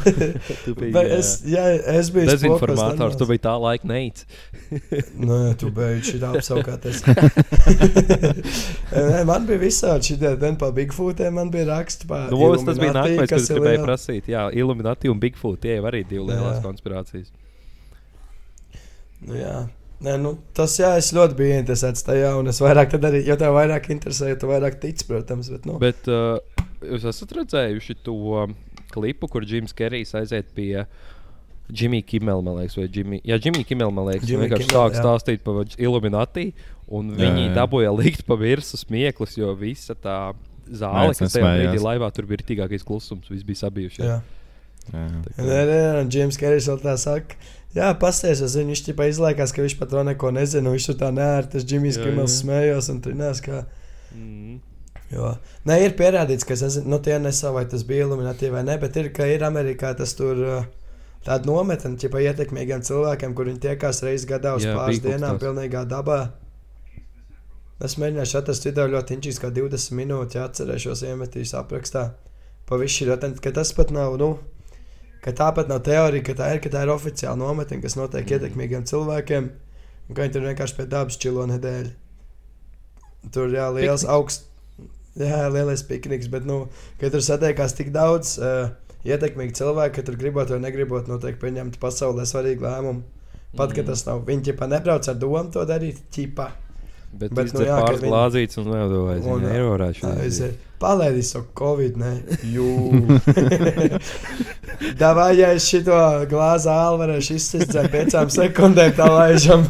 Tu biji,
Bet
jā.
es, jā, es biju
Dezinformātors, tu biji tā laika neic.
Nē, Nu, tu beidz
<laughs>
šitā apsaukāties. <laughs> Nē, man bija visādi šī diena par Bigfootiem, man bija raksts par
Nu, Vos, tas bija
Illuminati,
nākamais, kas
ir
gribēja
liela-
prasīt. Jā, Illuminati un Bigfoot tie jau arī divi lielās
Jā.
konspirācijas.
Nu, jā. Nē, nu, tas jā, es ļoti biju interesēts tajā, un es vairāk tad arī, jo tev vairāk interesē, jo tu vairāk tici, protams, bet, nu, bet,
Bet uh, jūs esat redzējuši to um, klipu, kur Džims Kerijs aiziet pie Džimija Kimela, man liekas, vai Jimmy, jā, Jimmy Kimela, man liekas, viņš
Jimmy
vienkārši
Kimmel,
sāk
jā.
stāstīt par Illuminati, un
Jā,
viņi
jā.
dabūja likt pa virsmu smieklus, jo visa tā zāle,
Nē,
kas tajā brīdī
nesmējās.
laivā tur bija tīrākais klusums, viss bija sabijušies.
jā. <laughs>
Jā.
Nē, nē, nē, un Džims Kerijs vēl tā saka. Jā, pasties uz viņu, viņš tipā izliekās, ka viņš par to neko nezina, un viņš tur tā nē, tas Džimijs
Jā,
Kimels
jā.
smējās, un tur nē, kā.
Mm.
Jo. Nē, ir pierādīts, ka es nezinu, nu, tie nesā vai tas bija Illuminati vai nē, bet ir, ka ir Amerikā tas tur. uh, Tāda nometne, ja pa ietekmīgiem cilvēkiem, kur viņi tiekās reizes gadā uz
Jā,
pāris
bija kaut
dienām,
kas tāds.
pilnīgā dabā. Es mēģināšu atrast video ļoti inčīs, kā 20 minūtes, ja atcerēšos iemetīs aprakstā. Pavisam ir autentiski, ka tas pat nav, nu, ka tā pat nav teorija, ka tā ir, ka tā ir oficiāla nometne, kas notiek mm. ietekmīgiem cilvēkiem, un ka viņi tur vienkārši pie dabas čilo nedēļu. Tur jā, liels augsts. Jā, lielais pikniks, bet, nu, kad tur satiekās tik daudz uh, ietekmīgu cilvēku, ka tur gribot vai negribot, noteikti pieņemt pasaulē svarīgu lēmumu. Pat, mm. ka tas nav, viņi ķipa nebrauc ar domu to darīt, ķipa.
Bet,
Bet,
bet
nu
nu,
jā,
jā,
ka
pāris
viņi-
glāzīts un vēl domājis,
Un,
ka nevarēšu.
Aiziet. Palaidīs to covid, ne? <laughs>
<laughs>
Jū. Davai, ja es šito glāzi ālu varēšu izsist ar piecām sekundēm, tā laižam.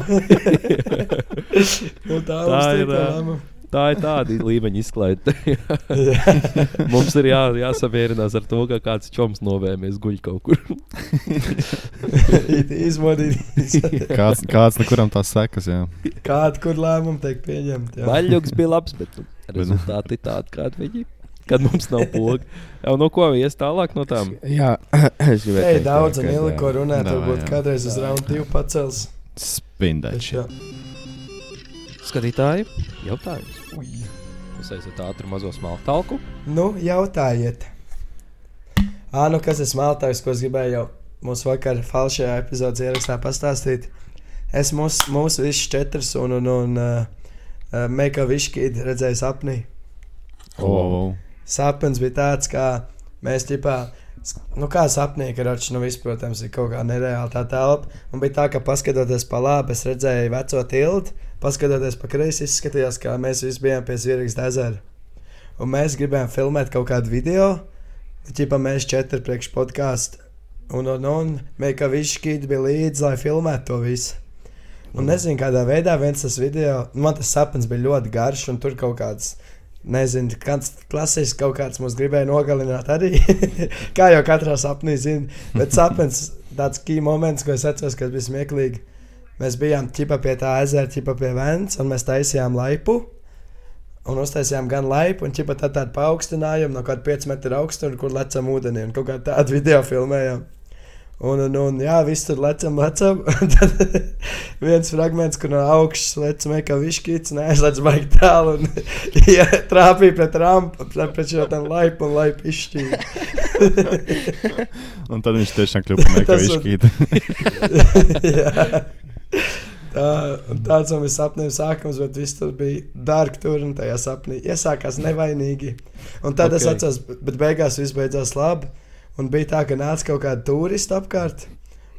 <laughs> nu, tā, tā
Tā
ir tā
ir, ā,
lēmuma.
Tā ir <laughs> tāda līmeņa izklaide.
Jā.
Mums ir jā, jāsamierinās ar to, ka kāds čoms novēmies guļ kaut kur.
<laughs> It Izmodīt. <laughs>
Kāds, kāds nekuram tās sekas, jā.
Kādu kur lēmumu tiek pieņemt? jā.
Baļķis bija labs, <laughs> bet nu,
Bet-
rezultāti tādi, kādi viņi kad mums nav poga. Jau no ko ies tālāk no tām?
Jā, <coughs> es gribēju.
Ei,
teikt tā,
daudz,
ka-
un ilgi ko runāt,
Davai,
varbūt
jā.
kādreiz uz raundu divu pacels. Bet
Spindēči.
jā.
Skatītāji, jautājums. Jūs esat ātri mazo smalku talku.
Nu, jautājiet. Ā, nu kas tas mākslinieks, ko es gribēju jau mūsu vakarā falšajā epizodes ierakstā pastāstīt? Es mūs, mūsu visus četrus un, un, un uh, Meika Viškīdu redzēju sapnī.
Oh,
Sapnis bija tāds, kā mēs tipā. Nu, kā sapnieki ir atšķirīgi, nu, viss, protams, ir kaut kā nereāla tā telpa. Un bija tā, ka, paskatoties pa labi, es redzēju veco tiltu, paskatoties pa kreisi, izskatījās, ka mēs visi bijām pie Zviedrijas ezera. Un mēs gribējām filmēt kaut kādu video, tipā mēs četri priekš podkāstu. Un, un, un Meika Viškīda bija līdzi, lai filmētu to visu. Un nezinu, kādā veidā viens tas video, man tas sapnis bija ļoti garš, un tur kaut kāds Nezinu, kāds klasisks kaut kāds mums gribēja nogalināt arī. <laughs> Kā jau katrā sapnī zina, bet sapnis tāds key moments, ko es atceros, kas bija smieklīgi. Mēs bijām ķipa pie tā ezera, ķipa pie vēns, un mēs taisījām laipu. Un uztaisījām gan laipu, gan ķipa tā tādu paaugstinājumu no kaut kāda 5 metru augstuma, kur lecam ūdenī un kaut kā tādu video filmējām. Un, un, un jā, viss tur lecam, lecam. <laughs> Un tad viens fragments, kur no augšas lecam, kā višķīts, neaizlec baigi tālu. Un, <laughs> ja trāpīja pret rampu, tad pret šo tam laipu un laipu izšķīja.
un tad viņš tiešām
<laughs>
kļuva par
Tas
Mekoviču kītu.
Jā. <laughs> Tā, un tāds man bija sapnis sākums, bet viss tur bija dārgi tur un tajā sapnī. Iesākās nevainīgi. Un tad okay. es
Ok.
atceros, bet beigās viss beidzās labi. Un bija tā, ka nāca kaut kāda turista apkārt.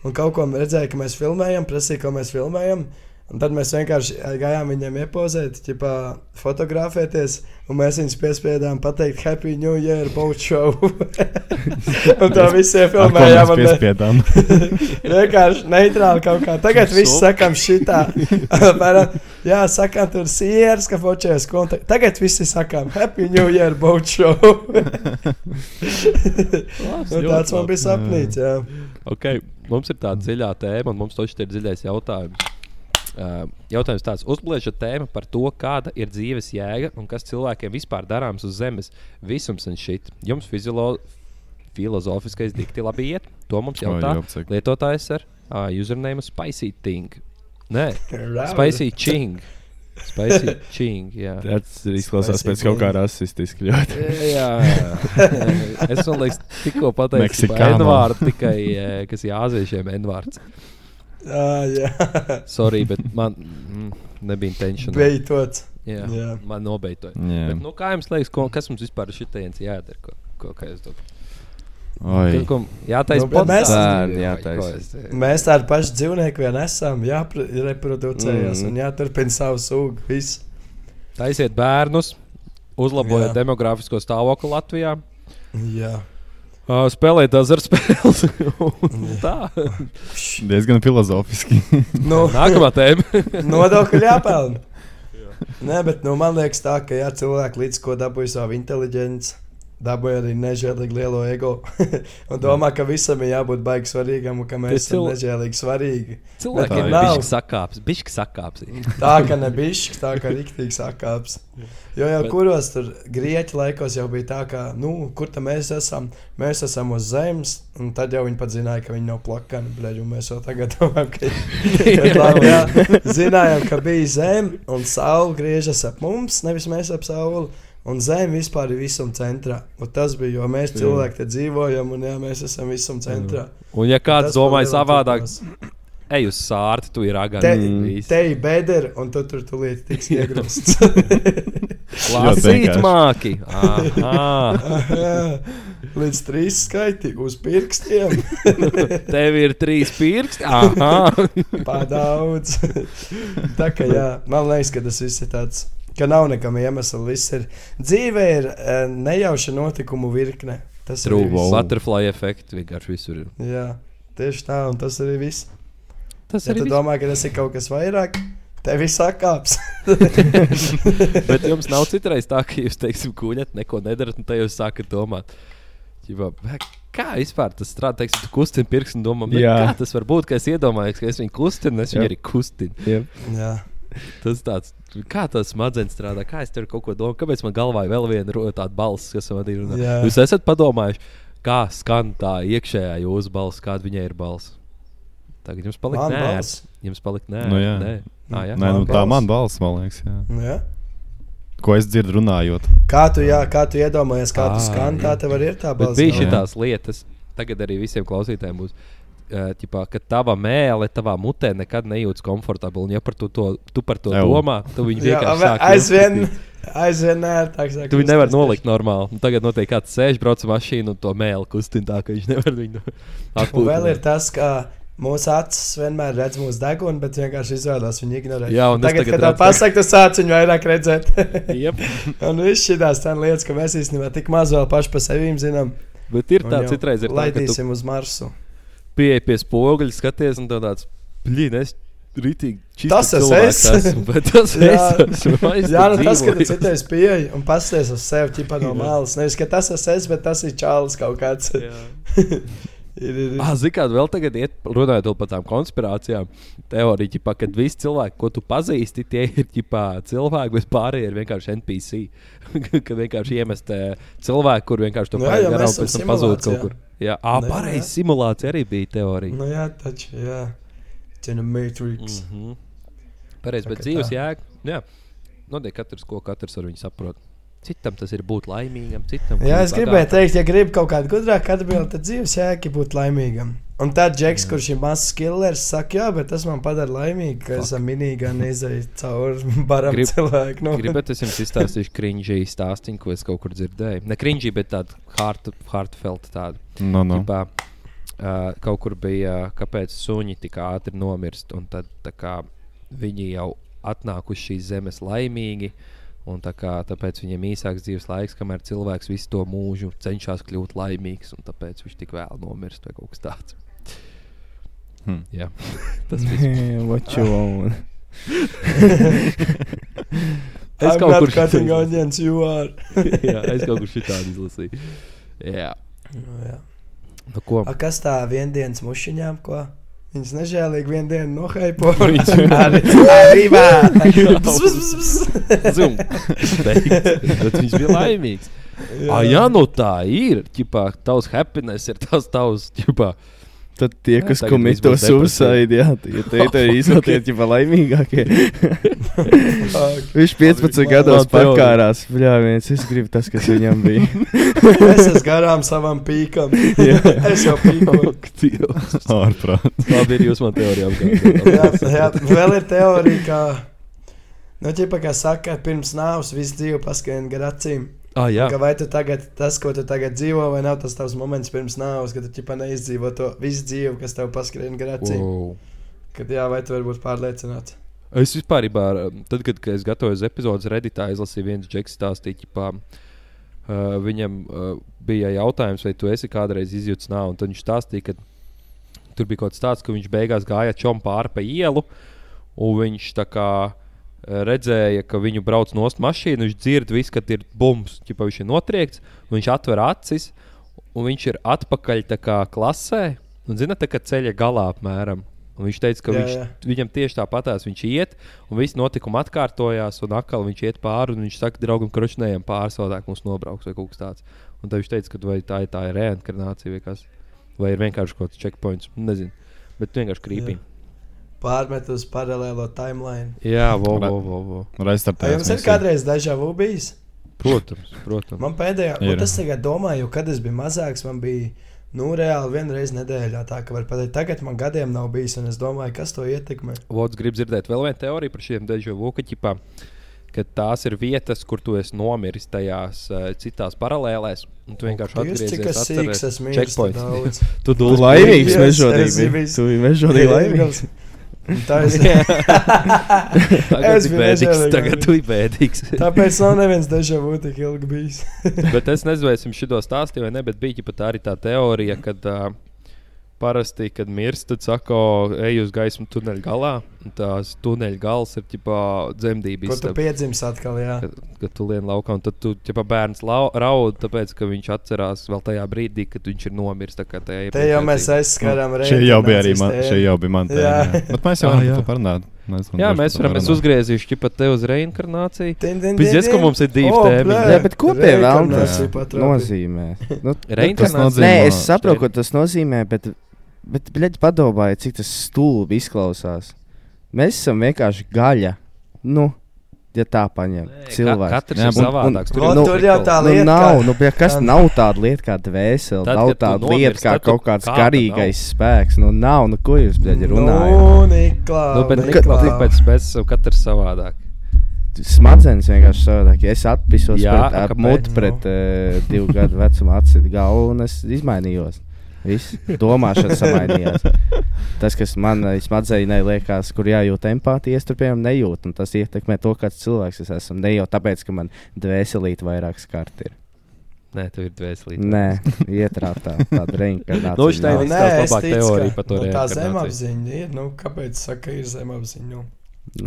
Un kaut ko redzēja, ka mēs filmējam, prasīja, ko mēs filmējam. Un tad mēs vienkārši ā, gājām viņiem iepozēt, ķipā, fotografēties, un mēs viņus piespiedām pateikt, Happy New Year, Boat Show. <laughs> un tā visi
Ar ko mēs
iefilmējām. un ne-
piespiedām?
Vienkārši neitrāli kaut kā. Tagad viss sakām šitā. <laughs> Apmēram, Jā, sakām tur sieras, ka fočēs kontaktu. Tagad visi sakām Happy New Year boat show. <laughs>
Labs,
Nu, tāds man bija sapnīts, jā.
Okay. Mums ir tā dziļā tēma, un mums taču ir dziļais jautājums. Uh, jautājums tāds: uzbliežot tēmu par to, kāda ir dzīves jēga un kas cilvēkiem vispār darāms uz zemes. Visums un šit. Jums fiziolo, filozofiskais dikti labi iet. To mums jautā
Oi, jopcik.
lietotājs ar uh, username Spicy Ting. Nē, Spicy Ching. Spicy Ching. Jā.
Tas izklausās
Spicy
pēc kaut kā
boy.
rasistiski ļoti.
Jā, es domāju, ka tikko pateicu, ka
Meksikāno.
Envārds tikai eh, kas ir āziešiem Envārds.
Ah, jā,
Sorry, bet
<laughs>
man mm, nebija intencija.
beidzots.
Jā,
jā.
jā. Man nobeigta.
Jā.
Nu, kā jums liekas, ko, kas mums vispār ir šitienas jādara? Ko, ko, kā jūs domājat?
Oi.
Pirmkārt, jātaisa
Nu, bet mēs-
podcasts.
Bērni
Vai
jātaisa.
ko es te-
Mēs tādi paši dzīvnieki vien esam, jāreproducējas
Mhm.
mm. un jāturpina savu sūgu. Viss.
Taisiet bērnus,
Jā.
uzlabojiet demogrāfisko stāvokli Latvijā.
Jā.
Uh, spēlēt azartspēles. Un
<laughs>
tā.
Diezgan filozofiski.
Nu,
Nākamā tēma.
Nodokļi jāpelnā. Nē, bet nu, man liekas, tā, ka jā, cilvēki līdz ko dabūja savu inteligenci, dabūja arī nežēlīgi lielo ego. <laughs> un domā, ka visam ir jābūt baigi svarīgam, un ka
Tie
mēs esam
cil-
nežēlīgi svarīgi.
Cilvēkiem ir
nav.
bišķi sakāps. Bišķi sakāps.
<laughs>
ir.
Tā kā nebišķi, tā kā rīktīgi sakāps. Jo jau
Bet-
kuros tur grieķu laikos jau bija tā, ka, nu, kur tam mēs esam, mēs esam uz zemes, un tad jau viņi pat zināja, ka viņi nav plakani, bļaļ, un mēs jau tagad <laughs> domājam, ka
<laughs>
viņi ir. Jā, zinājām, ka bija zeme, un saule griežas ap mums, nevis mēs ap sauli. Un zeme vispār ir visuma centrā. Un tas bija, jo mēs cilvēki te dzīvojam, un jā, mēs esam visuma centrā.
Un ja kāds
Tas man
domāja
ļoti
savādāk, Mm.
patīk.
ej uz sārti, tu ir agri.
Te,
Visi.
te ir bedra, un tu tur tu lieti
<laughs>
tiks iegrūsts.
Lasīt
vienkārši.
māki.
<laughs>
Aha. <laughs>
Līdz trīs skaiti uz
<laughs>
pirkstiem.
Tev ir trīs pirksti.
<laughs>
Aha.
Pārdaudz. tā kā jā, man liekas, ka tas viss ir tāds, ka nav nekam iemesla. Viss ir dzīve ir eh, nejauša notikumu virkne. Tas ir
Trūkst.
viss.
Butterfly efekts vienkārši visur. ir.
Jā, tieši tā, un tas arī viss.
Tas
Ja
ir
tu
domāts.
domā, ka tas ir kaut kas vairāk, tev viss sakāps. <laughs>
Bet jums nav citreiz tā, ka jūs, teiksim, guļat, neko nedarat, un te jūs sākat domāt. Ķipā, "Bē, Kā vispār tas strādā? Teiksim, tu kustini pirkstu un domā, "Bē,
Jā.
kā tas var būt, ka es iedomājos, ka es viņu kustinu, un es viņu
Jā.
arī kustinu.
jā.
Tas tāds, kā tas smadzenes strādā, kā es tur kaut ko domāju, kāpēc man galvā ir vēl viena ro- tāda balss, kas man ir.
Jā.
runā? Jūs esat padomājuši, kā skan tā iekšējā jūsu balss, kāda viņai ir balss. Tagad jums paliks
Man
nē,
balss?
jums paliks nē,
Nu jā.
nē. Ah, jā.
Nē,
Man
nu, tā
balss.
man balss, man liekas, jā.
Nu, jā.
ko es dzirdu runājot.
Kā tu, jā, kā tu iedomājies, kā tu
Ā,
skan, tā
jā.
tev arī ir tā
Bet
balss.
bija
galvā.
šī tās lietas, tagad arī visiem klausītājiem būs. eh, Ķipā, ka tava mēlē, tavā mutē nekad nejūtas komfortabli. Un, ja par to, to, tu par to
Ew.
domā, tad viņi
<laughs> Jā,
vienkārši
a-
sāk
aizvien,
uzskatīt.
aizvien ērtāk. sāk
Tu viņu nevar
uztvert.
nolikt normāli. Un tagad noteikti kāds sēž, brauc ar mašīnu un to mēlē kustina tā, ka viņš nevar viņu
Un vēl ir
atpūst.
tas, ka mūsu acis vienmēr redz mūsu degunu, bet vienkārši izvēlās viņu ignorēt.
Jā, un es
tagad,
tagad
kad tev
redzu-
pasaka, tu sāc viņu vairāk redzēt. <laughs>
Yep.
un viss šīs lietas, ka mēs īstenībā tik maz vēl paši par sevi zinām,
Bet ir
un
tā,
jau
citreiz ir tā, ka tu
Laidīsim uz Marsu.
pieeji pie spoguļa, skaties, un tev tāds plīn, es ritīgi čistu
Tas esmu
cilvēks
es.
esmu, <laughs> bet tas
Jā.
es esmu. Es
Jā, nu
te
tas, ka tu
dzīvoju.
citais pieeji un pasties uz sevi, ķipa
<laughs>
no malas. Nevis, ka tas esmu es, bet tas ir čāls kaut kāds. ir,
Jā.
<laughs> ir, ir.
Ah, Ziniet, kāda vēl tagad iet, runājot vēl par tām konspirācijām, teorija, ģipā, kad visi cilvēki, ko tu pazīsti, tie ir ģipā, cilvēki, bet pārējie ir vienkārši NPC. <laughs> kad vienkārši iemest eh, cilvēku, kur vienkārši to
Nu jā,
pārējie
jau
garām,
mēs esam
pēc tam pazūd
simulācijā.
kaut kur. Jā, ah,
Nu jā,
pareizi,
jā.
simulācija arī bija teorija.
Nu jā, taču, jā. Cena Matrix.
Mhm. Pareizi, bet
Tā kā
dzīves
tā.
jēga. Jā, notiek katrs, ko katrs ar viņu saprot. Citam tas ir būt laimīgam, citam
Jā,
kļūt
es gribēju
bagātam.
teikt, ja gribi kaut kādu gudrāku atbildību, tad dzīves jēga būt laimīgam. Un tad Džeks, kurš ir mazs skillers, saka, jā, bet tas man padara laimīgu, ka esam minīgā neizdeja cauri <laughs> baram
Grib-
cilvēku. Nu.
Gribētu, es jums izstāstīšu kringžī stāstu, ko es kaut kur dzirdēju. Ne kringžī, bet tādu hard- heartfelt tādu.
No,
Nu.
no.
Tipā, Uh, kaut kur bija, uh, kāpēc suņi tik ātri nomirst, un tad tā kā, viņi jau atnāk uz šīs zemes laimīgi, un tā kā, tāpēc viņiem īsāks dzīves laiks, kamēr cilvēks visu to mūžu cenšas kļūt laimīgs, un tāpēc viņš tik vēl nomirst vai kaut kas tāds.
Hmm.
Jā,
<laughs>
What you want?
es
I'm
kaut
not
kur
cutting
šitādu izlasīju.
onions, you are.
Jā, es kaut kur šitādu izlasīju. Jā,
Nu, jā.
nu ko?
A, kas tā viendienas mušiņām, ko? Viņas nežēlīgi vienu dienu nohaipo.
<laughs>
<laughs>
Viņas-
arī
<laughs>
gribēja.
Zum. Beigts. Bet viņš bija laimīgs. Ah, jā, no tā ir. Ķipā, tavs happiness ir tas tavs. Ķipā.
Tad tie,
Jā,
kas
tagad viss
komito
būs
suicide, jā, tie tie <laughs> ir iznotiet jau laimīgākie. Viņš 15
Labi,
gados
labi, teorija.
pakārās. Jā, viens, es gribu tas, kas viņam bija. <laughs>
Es esmu garām savam
<laughs>
pīkam. Es jau
<laughs>
pīkoju.
Ak, Dievs.
<laughs> Ārprāt.
Labi, ir jūs man teorijā
jā,
<laughs>
jā,
apgādājāt.
vēl ir teorija, ka, nu, ķipa, kā saka, pirms nāves visu dzīvi paskrien gar acīm.
Ah, jā.
Ka vai tu tagad, tas, ko tu tagad dzīvo, vai nav tas tavs moments pirms nāves, kad tu ķipa neizdzīvo to visu dzīvi, kas tev paskrien gar acīm. Wow.
Wow.
Kad jā, vai tu vari būt pārliecināts?
Es vispār, ībā, tad, kad, kad es gatavojos epizodes redītā, izlasīju viens džeks stāstīju. ķipā, Uh, viņam uh, bija jautājums, vai tu esi kādreiz izjūts nāvi. un Tad viņš stāstīja, ka tur bija kaut kas tāds, ka viņš beigās gāja čom pāri pa ielu, un viņš tā kā eh, redzēja, ka viņu brauc no mašīnas, viņš dzird, visu, kad ir bums, ķipa, viņš ir notriekts, un viņš atver acis, un viņš ir atpakaļ tā kā klasē, un zinat, tā kā ceļa galā apmēram. Un viņš teica, ka
Jā,
jā, viņš, jā.
jā.
viņam tieši tāpatās viņš iet, un viss notikums atkārtojās, un atkal viņš iet pāri, un viņš saka, draugam, krošņējiem pāri, savādāk mums nobrauks vai kaut kas tāds. Un tad viņš teica, ka vai tā ir tā ir reinkarnācija vai kas, vai ir vienkārši kaut kāds checkpoints, nezinu, bet vienkārši krīpīgi.
Pārmet uz paralēlo timeline.
Jā, wow,
Ra-
wow, wow, wow.
Nu,
Vai
Restartējums.
jums ir kādreiz dažā vu bijis?
Protams, protams.
Man pēdējā,
Ir.
un es tagad domāju, kad es biju mazāks, man bija, nu, reāli vienreiz nedēļā tā, ka var pateikt, tagad man gadiem nav bijis, un es domāju, kas to ietekmē.
Vods grib dzirdēt vēl vienu teoriju par šiem dežu vokaķiem, ka tās ir vietas, kur tu esi nomiris tajās uh, citās paralēlēs. un Tu vienkārši
Jūs
atgriezies
cik es sīks, es mīlu.
checkpoints. <laughs>
Checkpoint.
tu
Tu
dūzi
laimīgs,
Yes,
mežonīgs.
es
biji.
biju.
Tu biji mežonīgs, laimīgs.
<laughs>
Tā es,
<laughs>
<laughs>
Tagad
Es
tu
biju
esi bēdīgs,
nežēlīgi.
tagad tu esi
<laughs>
bēdīgs.
tāpēc nav neviens dažā būtu tik ilgi bijis.
bet es nezinu, vai es jums šito stāstīju vai ne, bet bija ģipa, tā arī tā teorija, ka uh, parasti, kad mirst, tad saka, "O, ej uz gaismu tuneļa galā, un tās tuneļa gals ir ģipā dzemdību
Ko tu
istaba.
piedzims atkal, jā.
kad, kad tu lieni laukā, un tad tu jau bērns lau- raud, tāpēc ka viņš atcerās vēl tajā brīdī, kad viņš ir nomiris. tā kā tajā
Te jau mēs
iepriekšējā
aizskarām
Šī Nu, jau bija arī
reinkarnācijas
man,
tēmu.
šī jau bija man
Jā.
tēma. jā. Bet mēs
<laughs>
jau
Ah,
varam
jā.
par to parunāt. Mēs
Jā, mēs varam, es uzgriezīšu pat te uz reinkarnāciju. Pizies, ka mums ir divi
O,
tēmi.
blē.
Jā, bet ko pie velna
Reinkarnācija patrāpīja.
nozīmē? Nu,
Tas
Reinkarnācija.
nozīmē,
nē, es saprotu, ko tas nozīmē, bet, bet bļaļ, padomājiet, cik tas stulbi izklausās. Mēs esam vienkārši gaļa. Nu, ja tā paņem cilvēks.
Ka, katrs
Jā,
jā, ir
un-
savādāks.
un-
ir
un tur jau
prikoli.
tā-
Nu,
lieta,
nav,
kā-
nu, bija, kas
tā-
nav tāda lieta kā dvēsele,
Tad,
nav
kad tu
tāda
nomirsti,
lieta kā
tad tu
kaut kāds
kāda
garīgais spēks. Nu, nav, nu, ko jūs bļaļ, runājat?
Nu, Niklā,
Nu, bet
Niklā.
Niklā, tāpēc mēs esam katrs savādāk.
Smadzenes vienkārši savādāk. Ja Es atpisos
Jā,
pret, ap
kāpēc?
mutu pret uh, divu gadu vecumu atsitu galvu un es izmainījos. Viss domāšana samainījās. Tas, kas manai smadzenei liekas, kur jājūt empātija, es tur piemēram nejūtu. un Tas ietekmē to, kāds cilvēks es esmu. Ne jau tāpēc, ka man dvēselīte vairāk skārta ir.
Nē, tu ir dvēselīgi.
Nē, ietrāptā tāda
Nu, viņš
reinkarnācija. nav.
tā
Nē,
ir izstāsta
es
labāk
ticu,
teoriju
ka-
par to
nu, Tā
reinkarnāciju.
zemapziņa ir. Nu, kāpēc saka, ir zemapziņa? Nu,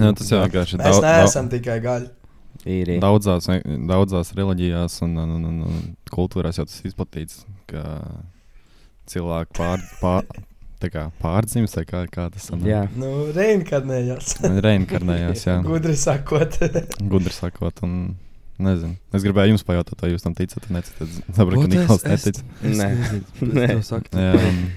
Jā, tas jau vienkārši
mēs neesam tikai gaļa.
īrija.
Daudzās, vien- daudzās reliģijās un, un, un, un, un kultūrās jau tas izplatīts, ka cilvēki pār, pār, tā kā pārdzimst, vai kā, kā tas sanāk?
Jā,
Nu, reinkarnējās.
Reinkarnējās, jā.
Gudri sakot, <laughs>
Gudri sakot, un nezinu. Es gribēju jums pajautāt, vai jūs tam ticat, vai neticat. Es Saprotu,
Vot
ka Niklaus
es- es-
netic.
nē,
<laughs>
Nē.
Jā, un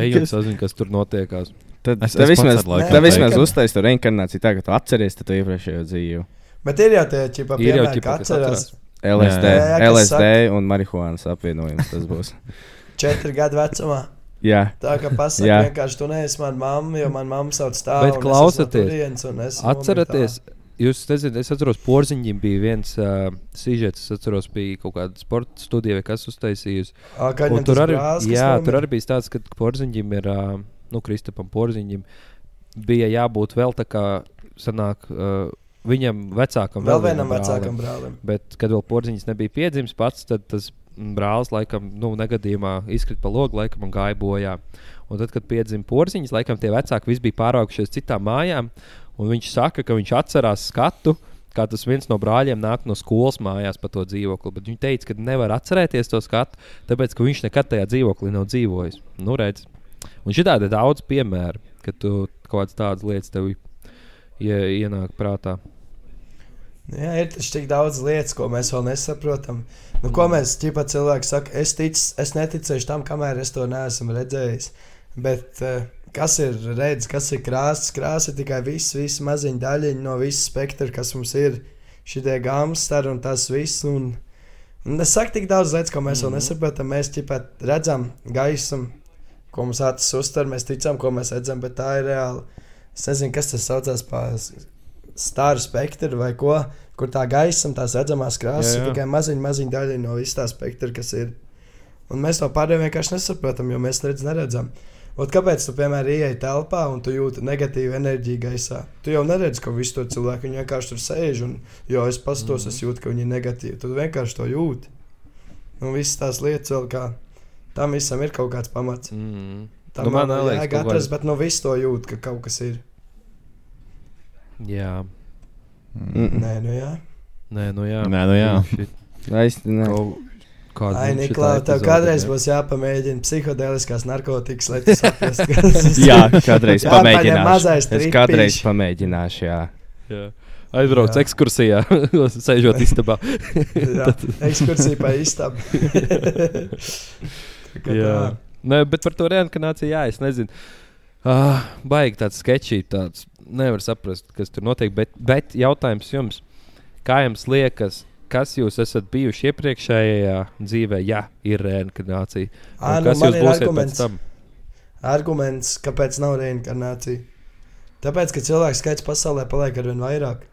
Ejam, sazinu, kas tur notiekās.
tad es,
Es- es
tev vismaz,
pats ar laiku
tev vismaz
teiktu.
uztaisīju to reinkarnāciju, tā ka tu atceries to iepriekšējo dzīvi.
bet ir jau tie čipa
Ir jau
piemēri,
ķipa,
ka
kas
atcerās jā,
LSD,
Jā,
jā,
jā, jā,
kas
LSD un marihuānas apvienojums tas būs.
četri gadu vecumā.
Jā,
Tā kā pasaka,
Jā.
vienkārši tu neesi mana mamma, jo mana mamma sauc tā. un es
Bet
esmu
klausieties,
no turienes, un es esmu
Atceraties, jūs nezināt, es atceros, porziņģim bija viens uh, sižets, es atceros, bija kaut kāda sporta studija, vai kas uztaisījusi.
nomirtā. Ā, kā
Un
viņam
Tur
tas
arī,
brālis, kas
jā, tur
nomira?
arī bija tāds, ka porziņģim ir, uh, nu, Kristapam porziņģim bija jābūt vēl tā kā, sanāk, uh, viņam vecākam.
Vēl vienam
brālim.
vecākam brālim.
Bet, kad vēl porziņš nebija piedzimis pats, tad tas brālis laikam nu, negadījumā izkrita pa logu, laikam un gāja bojā. Un tad, kad piedzima porziņš, laikam tie vecāki visi bija pārākušies citām mājām, un viņš saka, ka viņš atcerās skatu. Kā tas viens no brāļiem nāk no skolas mājās par to dzīvokli. Bet Viņš teica, ka nevar atcerēties to skatu, tāpēc ka viņš nekad tajā dzīvoklī nav dzīvojis. Nu, redz. Un šitādi ir daudz piemēru, kad tu kaut kādas tādas lietas tev ie- ienāk prātā.
Nu Jā, ir taču tik daudz lietas, ko mēs vēl nesaprotam. Nu, ko mēs ķipa cilvēki saka, es, tic, es neticēšu tam, kamēr es to neesmu redzējis. Bet eh, kas ir redzes, kas ir krāsa? Krāsa ir tikai viss, viss maziņa daļiņa no visa spektra, kas mums ir. Šitie gāmstari un tas viss. Un, un es saku tik daudz lietas, ko mēs mm -hmm. vēl nesaprotam. Mēs ķipa redzam gaismu, ko mums acis uztver, mēs ticam, ko mēs redzam, bet tā ir reāli. Es nezinu, kas tas saucās par stāru spektru vai ko, kur tā gaisa, tās redzamās krāsas, ir
Jā, jā.
tikai maziņa, maziņa daļa no visā tā spektra, kas ir. Un mēs to pārējiem vienkārši nesaprotam, jo mēs redz, neredzam. Ot, kāpēc tu, piemēram, ienāc telpā un tu jūti negatīvu enerģiju gaisā? Tu jau neredzi, ka visu to cilvēku viņi vienkārši tur sēž. Un, jo es pastos,
Mhm.
mm. es jūtu, ka viņi ir negatīvi. Tu vienkārši to jūti. Un visas tās lietas, vēl kā tam visam ir kaut kāds pamats.
Mm.
Tā nu,
Nu, man
man
neliekas,
liekas,
kaut
ka
kāda-
katrs, bet no visu to jūt, ka kaut kas ir.
Jā.
Mm,
Nē, nu jā.
Nē, nu jā.
Nē, nu jā.
Šit-
aiz- nē.
kaut- Kāda
Ai,
mums šitā
Niklā, tev
epizode,
kādreiz
jā.
būs jāpamēģina psihotēliskās narkotikas, lai tu saprastu, kas
<laughs>
tas ir.
Jā, kādreiz
Jā, paņem
pamēģināšu.
mazais
Es
tripiņš.
kādreiz pamēģināšu, jā.
Jā. Aizbraucu
Jā.
ekskursijā, <laughs> sēžot istabā.
<laughs> Jā, Ekskursija pa
<laughs>
istabu. Tā kā tā.
jā. Nē, bet par to reinkarnāciju, jā, es nezinu. Uh, baigi tāds sketčī, tāds nevar saprast, kas tur notiek. Bet, bet jautājums jums, kā jums liekas, kas jūs esat bijuši iepriekšējā dzīvē, ja ir reinkarnācija?
Ā,
Un
nu,
kas
man
jūs
ir
būsiet pēc
arguments.
tam?
arguments, kāpēc nav reinkarnācija. Tāpēc, ka cilvēku skaits pasaulē paliek ar vien vairāk.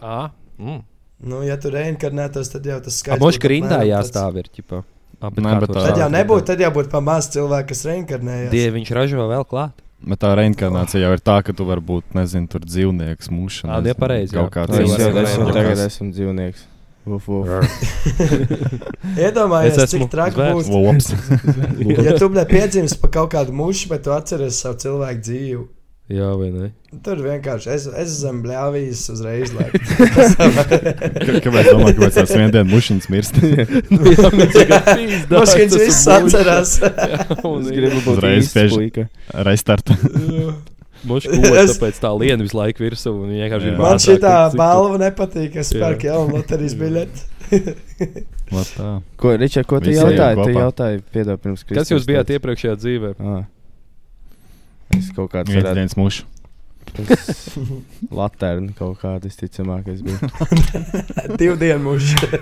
Ah, mm.
Nu, ja tu reinkarnētos, tad jau tas skaits.
Mums
būtu
grindā
apmēram tāds.
jāstāv ir ģipā.
Nē, bet tā-
Tad jau nebūtu, tad jau būtu pamāts cilvēks, kas reinkarnējas.
Dievi, viņš ražo vēl klāt.
Bet tā reinkarnācija jau ir tā, ka tu vari būt, nezinu, tur dzīvnieks, mūžs.
Ā, nu, ja pareizi, jā.
Kaut kā
Nu,
Es
cilvēks.
jau
varētu
esmu
būt
tagad
kas.
esmu dzīvnieks. Uf, uf.
Iedomājies,
Es
es cik
esmu
traki būtu.
zvērs.
Lops.
Ja tu biji piedzimis pa kaut kādu mušu, bet tu atceries savu cilvēku dzīvi.
Jā, vai <laughs> ne?
Tur vienkārši es, es zem blāvīs uzreiz laiku.
Kā- Kāpēc domā, ka
<laughs>
pēc tās viendienas mušiņas mirst?
Jā, viņš ir gandrīz
Tas viņš
<laughs>
viss atcerās.
Es gribu būt
Uzreiz
īsts
spiež-
puika.
Restarta.
Mums šķiet,
Es-
tāpēc tā liena visu laiku virsū. un Viņa vienkārši
Jā.
<laughs>
ir
Man
mazāk,
šī tā
cik tu-
balva nepatīk, es
Jā.
pērku jaunu loterijas biļeti.
Lai tā.
Ko, Ričard, ko tu
Visi
jautāji?
ejam
Tu
kopā.
jautāji, piedod, pirms Kristus.
Kas jūs bijāt iepriekšējā dzīvē?
Ā. Es kaut kāds
Viens
varētu.
dienas mušs.
Latvijas kaut kāda visticamāk, es biju.
Divu dienu mūžā.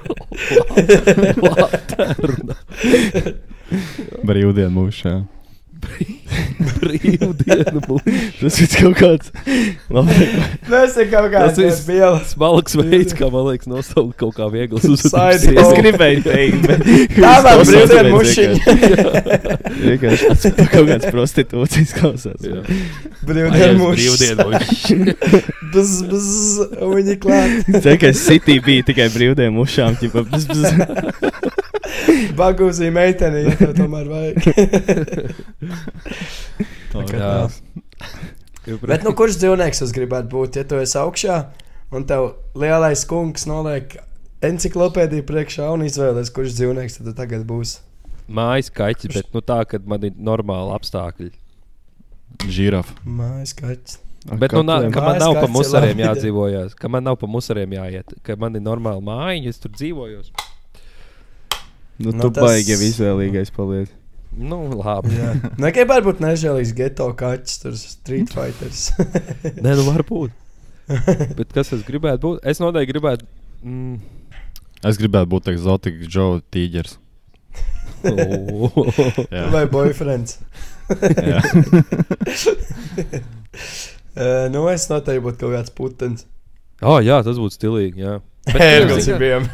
Brīvdienu mušs. jā.
Brīvdienu
<laughs>
būs.
Tas ir kaut kāds. Labi.
Tas ir kaut
Tas
kāds
ir-
viens bielas.
Smalks veids,
<laughs>
kā man liekas, nosaukt kaut kā vieglu
Side
Es
Oh.
gribēju teikt,
<laughs>
bet.
Tā vēl
Klausās
brīvdienu
pēc
mušiņa.
<laughs> vienkārši- Vienkārši tas ir kaut kāds prostitūcijas klausās.
Brīvdienu <laughs> mušiņa.
mūžs.
Bzz, bzz, un viņi klāt.
Tā kā City bija tikai brīvdienu mušām, ķipa. bzz, bzz.
Bagūzī meiteni, ja tev tomēr vajag.
Tā kā
jā.
tās.
<laughs> Bet nu kurš dzīvnieks jūs gribētu būt, ja tu esi augšā un tev lielais kungs noliek enciklopēdiju priekšā un izvēlēs, kurš dzīvnieks tad tu tagad būs?
Mājas kaķis, bet nu tā, ka man ir normāli apstākļi.
Žiraf.
Mājas kaķis.
Bet, nu, nā, ka man
Mājas
nav pa
kaķis ir
musariem
labi.
jādzīvojas, ka man nav pa musariem jāiet, ka man ir normāla mājiņa, es tur dzīvoju.
Nu,
Nu,
tu
tas-
baigi jau izvēlīgais paliec.
Nu, labi.
Jā. Nē, gribētu būt nežēlīgs geto kaķis, tur
<laughs>
street fighters.
Nē, nu varbūt. Bet kas es gribētu būt? Es noteikti gribētu. Mm.
Es gribētu būt eksotisks, Džo Tīģers. Jā.
Vai boyfriends? <laughs>
Jā.
Uh, nu, es noteikti būtu kaut kāds putns.
oh, jā, tas būtu stilīgi. Jā. Bet,
Ergls
jā,
ir bijām.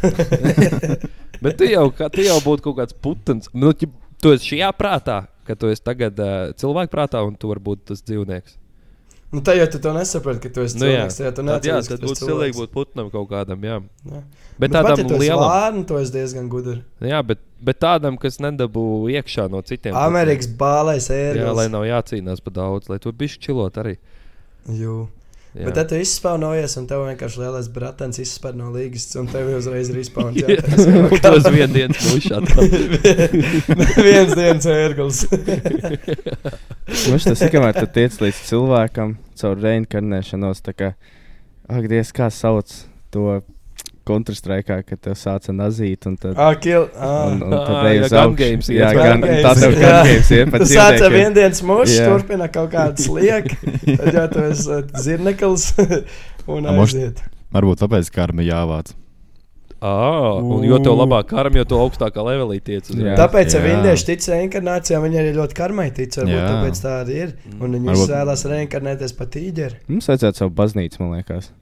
<laughs>
Bet tu jau, kā, tu jau būtu kaut kāds putns. Nu, ķip, tu esi šajā prātā, ka tu esi tagad uh, cilvēku prātā un tu vari būt tas dzīvnieks.
Nu, tā jau tu to nesaproti, ka tu esi cilvēks. Nu, jā, tu
tad, jā,
neatceries,
tad
ka tu esi
būtu
cilvēks.
cilvēks būt putnam kaut kādam. Jā.
Jā. Nu,
Bet,
pat,
bet
ja
tādam
tu esi
lielam,
Vārnu, to es diezgan gudri.
jā, bet, bet tādam, kas nedabū iekšā no citiem. putniem.
Amerikas bālais
Jā, lai
ērglis.
nav jācīnās par daudz, lai tur bija čilot arī.
Jū.
Jā.
Bet tad tu izspēlējies, un tev vienkārši lielais brālis izspēlēja no līgas, un tev jau uzreiz
<laughs>
ir
Jā,
izspēlēts. <laughs>
tas ir viens dienas
<laughs>
mūžs.
Viens dienas ērglis.
Viņš
<laughs>
Nu, tas ir kamēr tu tiec līdz cilvēkam caur reinkarnēšanos. Tā kā, ak, Dievs, kā sauc to kontrastraikā, kad tev sāca nazīt un tad.
Ah, kill.
Un,
Ah.
un tad
Ah,
ej
jā,
uz
gun
augšu.
games
jā,
iet.
gan,
Gun games,
tā tev
jā.
gan games ir
<laughs>
pat
Tas sāca
dzīvniekiem.
viendienas mūžs,
Jā.
turpina kaut kādas
<laughs>
liekas, tad jau tas zirneklis un
A, mož-
aiziet.
Varbūt tāpēc karma jāvāc.
Ah, un jo to labāk karam, jo to augstākā līmenī tiec uz
Jā.
Tāpēc, ja
jā.
vīrieši tic reinkarnācijām, viņi arī ļoti karmai tic. Varbūt
Jā.
tāpēc tā arī ir. Un viņi
Varbūt-
izvēlās reinkarnēties pat tīģeri.
Mums vajadzētu savu baznīcu, man liekas.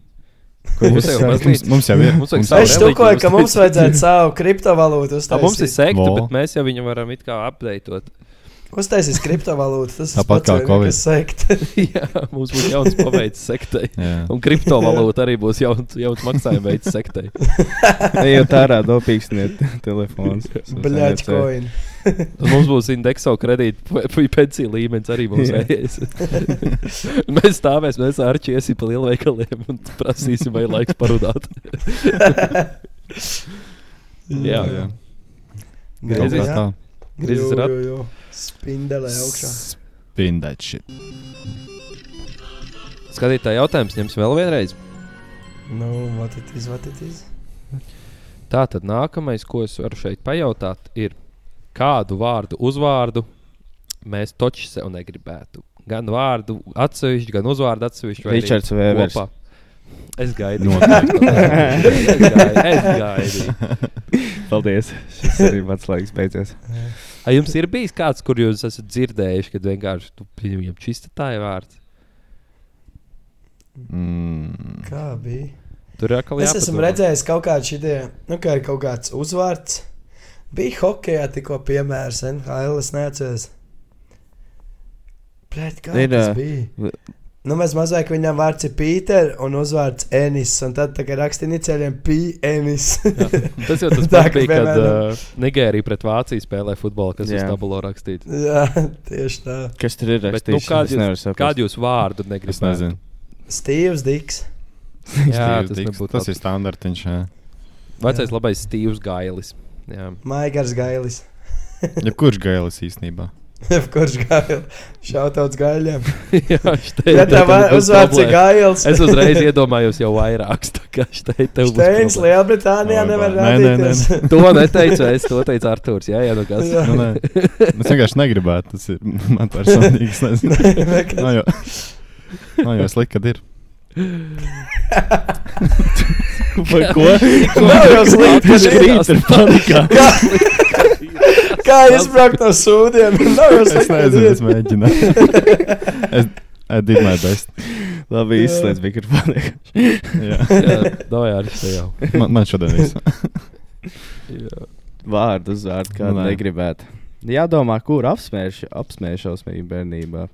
Mums jau
mums,
baznīca.
mums jau ir.
Mums vajag
mums
savu
jau
Es
ir.
reliģiju
štukoju, ka mums
uztaisīt.
vajadzētu savu kriptovalūtu
<laughs> Tā mums ir
uztaisīt.
sekta,
Vol.
bet mēs jau viņu varam it kā
<laughs>
apdeitot.
Uztaisīs kriptovalūtu. Tas ir
Tāpat
pats
kā Covid.
vienīgais
<laughs>
sekt.
Jā, mums būs jauns paveids sektai.
Jā.
Un kriptovalūta arī būs jauns, jauns maksājuma veids sektai.
Ej, jau tā rāda dopīgsniet telefons.
Bļaķ, coin.
Un mums būs indekso <laughs> kredīta pensija līmenis arī mums
Jā.
vajadzēs. <laughs> mēs stāvēsim, mēs ārķiesim pa lielveikaliem un prasīsim, vai ir laiks parudāt. jā, jā.
Kaut kā
Griezīs.
tā.
Griezīs rat-
rāda. Spindelē augšā.
Spindēt šit.
Skatītāji, jautājums ņems vēl vienreiz.
Nu, what it is, what it is.
Tā tad nākamais, ko es varu šeit pajautāt, ir, kādu vārdu uzvārdu mēs toči sev negribētu. Gan vārdu atsevišķi, gan uzvārdu atsevišķi. vai arī
Ričards Vēvers.
kopā. Es gaidu.
Noteikti.
es gaidu. <laughs> Es gaidu.
Paldies. Šis arī mans laiks beidzies.
Ai, jums ir bijis kāds, kur jūs esat dzirdējuši, kad vienkārši tu pieņem čista tā ir vārds.
Mm.
Kā bija?
Tur ir atkal
Es esmu redzējis kaut kādu šitā, nu, kā ir kaut kāds uzvārds. Bija hokeja tikko piemērs, NHL. Es neatceros. Pret kā
Ir,
ir, tas
ā,
bija? Nu, mēs mazliet viņam vārds ir Pīters un uzvārds Enis. Un tad tā kā rakstīnīcēļiem Pīters.
Tas
<laughs>
jau tas
Tā,
pats
ka
bija, kad
piemēram-
uh, Nigērija pret Vāciju spēlēja futbolu, kas uz
Jā.
tabulo rakstīts.
<laughs> Jā, tieši tā.
Kas tur ir
Bet, nu,
rakstīts?
kādu, jūs,
kādu?
kādu jūs vārdu
Es
negribat?
nezinu.
Stīvs Diks.
Jā,
Steve
tas
Dicks.
nebūtu
tas
labi.
ir standartiņš. jā.
Vecais <laughs> labais Steve's Gailis. Jā.
Maigars Gailis. <laughs>
Jebkurš gailis īstenībā.
Kurš gaila? Šautauts gaiļiem.
Jā, štai,
Ja tev uzvārds ir gails.
Es uzreiz iedomājos jau vairākus. tā kā štai tev būs
Steins
problēma.
Lielbritānijā
Vai,
nevar
vai. Nē, nē, nē,
rādīties.
To neteicu
<laughs>
es, to teicu Arthurs. Jā, jā, nu kas. <laughs>
Jā.
Nu, nē. es vienkārši negribētu. Tas ir <laughs> man personīgi. Es nezinu,
Vienkārši.
no, jo, no, jo slikti, kad ir. Vai ko?
Nav jau slikti,
Viņš
kad ir.
krīt
<laughs>
ar panikā.
Kā izbraukt no
<laughs>
sūdiem? Nav jau
Es
slikti, kad
nezinu,
ir.
es
<laughs>
mēģināju. Es I did my best.
Labi, izslēdz mikrofonu.
Jā.
Jā, no jā, arī štai jau.
Man, man šodien viss.
Jā.
Vārdu uzvārdu kādu
Nē.
negribētu. Jādomā, kur apsmēš, apsmēšos viņa bērnībā.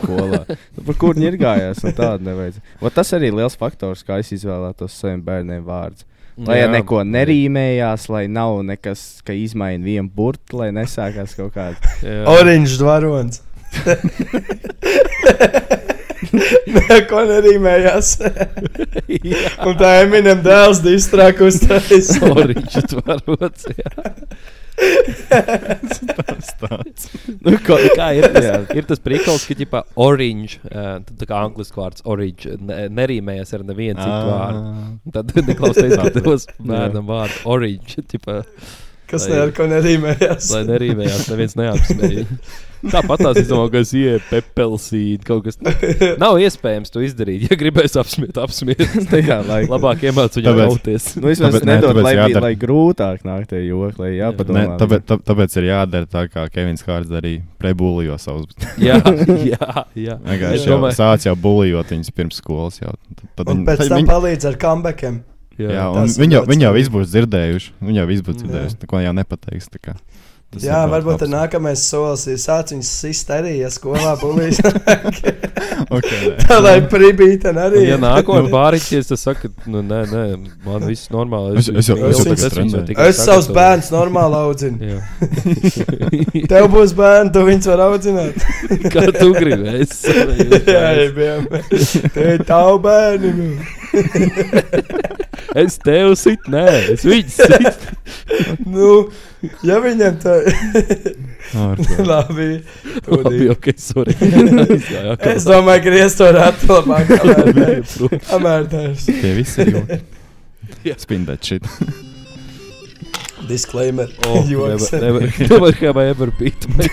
Skolā. Nu, Par kur nu, viņi ir gājās? un Tāda nevajag. Va, Tas arī ir liels faktors, kā es izvēlētos saviem bērniem vārdus. Lai jā, neko nerīmējās, lai nav nekas, ka izmaina vienu burtu, lai nesākās kaut kāda. <laughs>
Jā.
Oranžs dvarons. Neko nerīmējās. Un tā Eminem dēls distrākus
<laughs>
taisa.
Oranžs tvarots. jā.
Nu, ko,
Kā ir tas,
Jā.
ir tas prikals, ka ģipā orange, eh, tad tā kā anglisku vārds orange, ne, nerīmējas ar nevienu citu vārdu. Tad <laughs> Niklaus teica, ka dos bērnam vārdu orange, ģipā,
Kas
Lai-
neko nerīmējās.
lai nerīmējās, neviens
<laughs>
neapsmēja. Tāpat tās izdomā, ka es ieeju pepelsīdu, kaut
<laughs>
kas. Nav iespējams to izdarīt, ja gribēs apsmiet,
<laughs>
apsmiet.
jā, lai,
Labāk iemācīt viņu
Tāpēc- <laughs>
rauties.
Nu, es
Tāpēc-
vienkārši
nē,
nedodu,
tāpēc
lai,
jādara.
bija- lai grūtāk nāk tie joki, lai
Ne,
jāpadomā.
tāpēc, tā- tāpēc ir jādara tā, kā Kevins Hārds darīja. Prebulījo savus.
<laughs> Jā, jā, jā. Es
Vienkārši jau
domāju-
sācis jau bulījot viņus pirms skolas. Jau. Tad- Tad
Un pēc tam palīdz ar comebackiem.
jā.
jā,
jā.
un
tas ir
viņi jau,
ļoti
viņi jau
skumji.
visu būs dzirdējuši. Viņi jau visu būs
Jā.
dzirdējuši. Neko jau nepateiks. tā kā. Tas
Jā,
ir
varbūt
ļoti
ir nākamais solis. Ir sācis viņus sist arī, ja skolā
<laughs>
būs.
labs. Okay, nē.
<laughs> Tā <laughs> lai pribīta arī.
Un, ja nākotnē pāriņķies, tad saka, nu, nē, nē, man viss normāli.
Es- es jau-
es jau
es viņus jau
trenēju.
tikai
Es savus
sagatavoju.
bērnus normāli audzinu.
<laughs>
Jā. <laughs>
Tev būs bērni, tu viņus var audzināt.
Kā tu gribēji?
<laughs>
Es saprotu,
Jā, jā, jā. Tie ir tavi bērni. nu.
Es tevi situ, nē, es viņu
<laughs>
situ.
Nu, ja viņam tā <laughs>
Ārprāt.
labi,
Labi,
tad
ok,
<laughs>
sorry.
es domāju, ka griezt to ratu labāk. kamēr ne-
domāju,
Kamēr tas ir.
Tie visi
<laughs>
ir joki.
Jā.
Spindēt šit.
Disclaimer.
Oh,
<laughs> Joks.
<laughs> ka vai ever beat
<laughs>
me.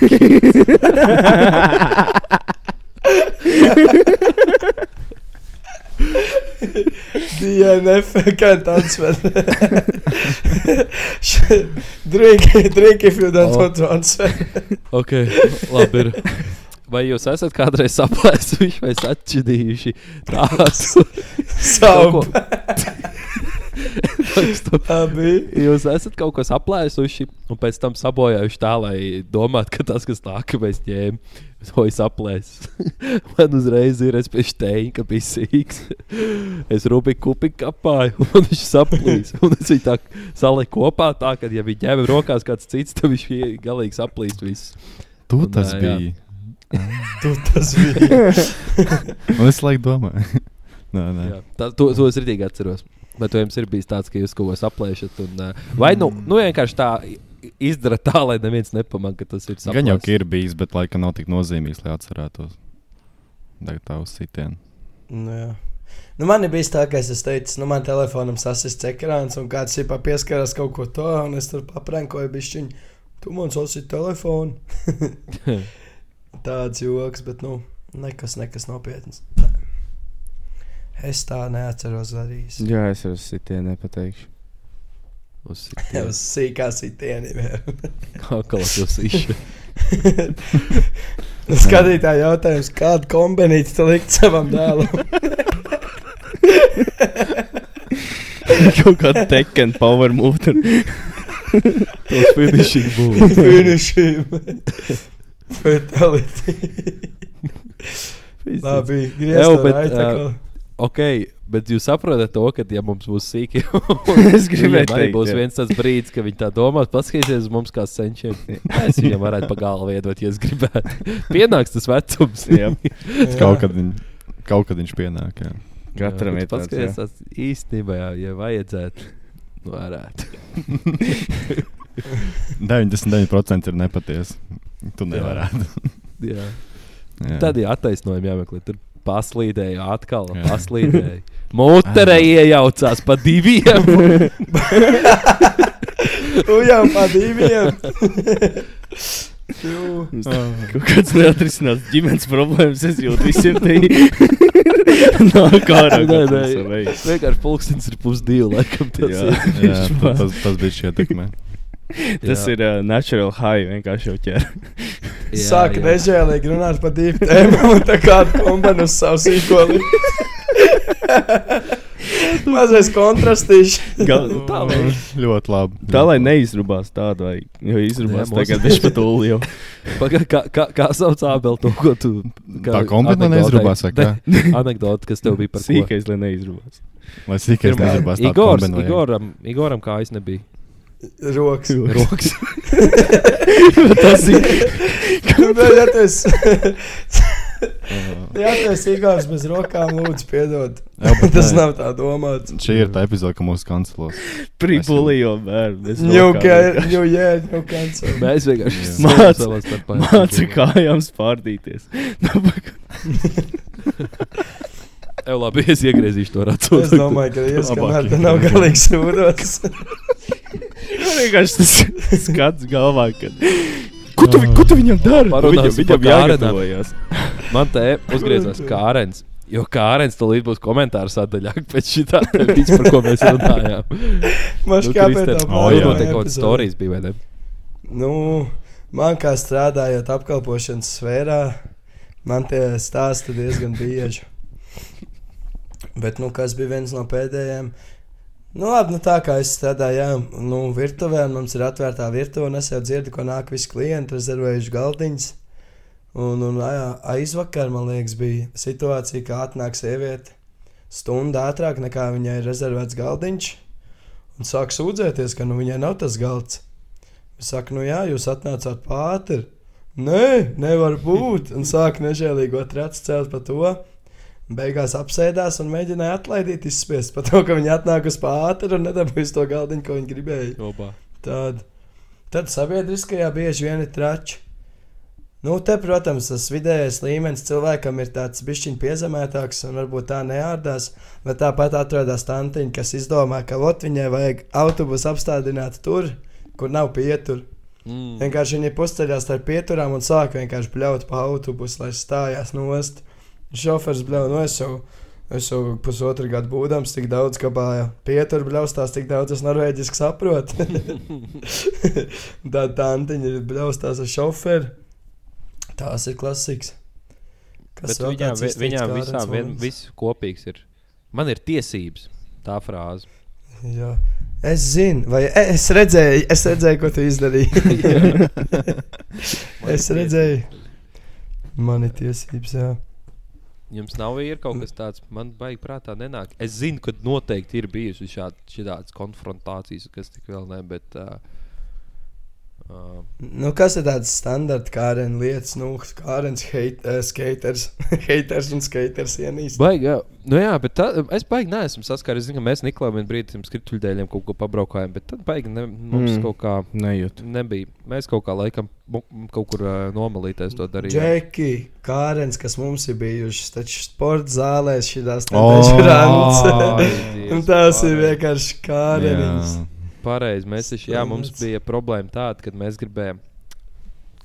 DNF can't <laughs> answer. drink, drink if you don't
Oh.
want to answer.
Ok, labi. Ir. Vai jūs esat kādreiz saplēsuši vai atšķidījuši
<laughs>
krāsu?
Savu <laughs>
Kaut ko-
abi.
Jūs esat kaut ko saplēsuši un pēc tam sabojājuši tā, lai domātu, ka tas, kas nākamais ņēma, to ir saplēsis. <laughs> man uzreiz ir es pēc teņa, ka bija sīgs. <laughs> es rubiku kupi kapāju, <laughs> un man viņš saplīs. <laughs> un es viņu tā saliku kopā, tā ka, ja viņi ņēma rokās kāds cits, tad viņš ie- galīgi saplīst visu.
Tu
Un,
tas
ā, jā.
biji.
Tu tas bija.
Un es laiku domāju. <laughs> Nē, nē.
Jā, tā, to, to es rītīgi atceros. Vai tu jums ir bijis tāds, ka jūs kaut ko saplēšat? Un, ā, vai nu, nu vienkārši tā izdara tā, lai neviens nepamanā, ka tas ir saplēsts?
Gan jau ka ir bijis, bet laika nav tik nozīmīgs, lai atcerētos. Tagad tā uz sitienu.
Nu, jā. Nu, man ir bijis tā, ka es teicu, nu, man telefonam sasists ekrāns, un kāds ir pieskaras kaut ko to, un es tur paprankoju bišķiņu. Tu man sasist
<laughs>
telefonu. <laughs> Tāds joks, bet, nu, nekas, nekas nopietns. Nē. Es tā neatceros darījis.
<laughs> Jā, es ar sitienu nepateikšu.
Uz
Jā,
sitienu.
uz sīkā
<laughs>
sitieniem.
Kā
<laughs>
klausās īsi.
Nu, Skatītāji jautājums, kādu kombinīti tu likt savam dēlam?
<laughs> Kaut kā tekena power motor.
<laughs> Tas finishing
<laughs>
būs. <laughs>
Finishim. Fatality. Labi,
Ew,
griezties.
bet,
Jā, bet.
ā, Ok, bet jūs saprotat to, ka, ja mums būs
<laughs>
sīki, <laughs>
Es gribēju
viņiem arī
teikt,
būs
jā.
viens tāds brīdis, ka viņi tā domās, paskatīsies uz mums kā senčiem. Es viņiem varētu pagālu iedot, ja es gribētu. <laughs> Pienāks tas vecums.
Jā.
Jā.
Kaut kad, viņ, kaut kad viņš pienāk.
<laughs>
Jā. <laughs>
Katram ir tāds. jā.
paskatīsies, tas īstenībā, jā, ja vajadzētu, nu, varētu.
99% ir nepatiesa. Tu nevarētu.
<laughs> Jā.
Jā.
Tad ir attaisnojumi jāmeklē. Tur paslīdēja, atkal
Jā.
paslīdēja. Mūterē iejaucās pa
<laughs>
diviem.
Ujām pa
<laughs>
diviem.
Kaut kāds neatrisinās ģimenes problēmas, es jūtu visiem
<laughs>
te no kā ar
Nē, nē. Vienkārši pulkstenis ir pusdivi. Laikam, tas <laughs>
Jā.
ir.
Jā, tas, tas bija šī ietekme.
Tas
Jā.
ir uh, natural high, vienkārši jau ķer.
Jā,
Sāka
jā.
nežēlīgi runāt par divām tēmām, un tā kā kombinē uz savu sīkoli. Mazais kontrastīšs.
Gal...
Tā lai-
Ļoti labi.
Tā lai neizrūpās tādu, vai jo izrūpās
Jā, mums-
tagad viņš pat ulu jau.
Paga, kā, kā, kā sauc abeli to, ko tu.
Tā kombinē neizrūpās, vai kā?
<laughs> Anekdote, kas tev bija par sīkā.
Sīkais, lai neizrūpās.
Lai sīkais
Pirmā-
neizrabās tā
Igors,
kombinē.
Igoram, Igoram kā es nebiju.
<laughs>
Roks.
Roks.
Tas ir
Kāpēc? Jā, tas ir Igors bez rokām, lūdzu, piedod.
Jā, bet
Tas
nē,
nav tā domāts.
Šī ir tā epizode, ka mūsu kancelos.
pripulī jau bērnu.
New year, new year, new
<laughs>
cancer.
Mēs vienkārši
Jā.
sūdzam
Māc-
savā starpā.
Māca kājām spārdīties. Nu,
Tev labi, es iegriezīšu to racu.
Es domāju, ka ieskanāt,
Labāk
ka nav
ir.
galīgs rūdos.
<laughs>
Man vienkārši tas skats galvā, kad. Ko tu, vi- ko tu viņam dari? Viņam,
Parunāsim
viņam
par Kārenam.
jāgatavojas.
Man te uzgriezās Kārens. Jo Kārens to līdz būs komentāru sadaļā <laughs> pēc šī tā, par ko mēs runājām.
Maš kāpēc tā
O,
Tur
Nu, jā.
notiek kaut kāds stāstījums, bija vai ne?
Nu, man kā strādājot apkalpošanas sfērā, man tie stāsti diezgan bieži. Bet, nu, kas bija viens no pēdējiem? Nu, labi, nu, tā kā es strādāju, jā, nu, virtuvē, un mums ir atvērta virtuve, un es jau dzirdu, ko nāk visi klienti, rezervējuši galdiņas. Un, un a- aizvakar, man liekas, bija situācija, ka atnāk sieviete stundu ātrāk nekā viņai ir rezervēts galdiņš, un sāk sūdzēties, ka nu, viņai nav tas galds. Es saku, nu jā, jūs atnācāt pāri. Nē, nevar būt. Un sāk nežēlīgo trācu celt par to. Beigās apsēdās un mēģināja atlaidīt, izspiest par to, ka viņi atnāk uz pāri un nedabūs to galdiņu, ko viņi gribēja.
Jobā.
Tad, tad sabiedriskajā bieži vien ir trači. Nu, te, protams, tas vidējais līmenis cilvēkam ir tāds bišķiņš piezemētāks un varbūt tā neārdās, bet tāpat atrodas tantiņa, kas izdomā, ka ot viņai vajag autobusu apstādināt tur, kur nav pietur.
Mm.
Vienkārši viņi pusceļā starp pieturām un sāka vienkārši bļaut pa autobusu, lai stājās nost. Šofers bļauj, no es jau, es jau pusotru gadu būdams, tik daudz kabāja. Pietur bļaustās, tik daudz es norvēģiski saprotu. <laughs> Tā tantiņa ir bļaustās ar šoferu. Tās ir klasiks.
Bet
vēl
viņām,
tāds
vi-
izteikts
viņām
Kārens
visām vien,
moments?
viss kopīgs ir. Man ir tiesības. Tā
<laughs>
frāze.
Jā. Es zinu, vai e, es redzēju, es redzēju, ko tu
<laughs>
izdarīji. es redzēju, man ir tiesības. Jā.
Jums nav ir kaut kas tāds, man baigi prātā nenāk. Es zinu, ka noteikti ir bijusi šādas konfrontācijas, kas tik vēl ne, bet. Uh, uh,
Nu, kas ir tāds standarta kārēns lietas, nu, kārēns heit, uh, skaters, <laughs> haters un skaters ienīst?
Baigi, jā. Nu, jā, bet tā, es baigi neesmu saskāries. Es zinu, ka mēs Niklā vienā brīdī tam skrituļdēļiem kaut ko pabraukājām, bet tad baigi ne, mums
Mm.
mm. kaut kā
Nejūt.
nebija. Mēs kaut kā laikam mu- m- kaut kur uh, nomalīties to darījām.
Džeki, kārēns, kas mums ir bijušas, taču sporta zālēs šīs
O,
tādas
ai,
<laughs> Un tās ir vienkārši kārēns.
Jā.
Pareizi. Mēs taču, jā, mums
Stundas.
bija problēma tāda, kad mēs gribējām,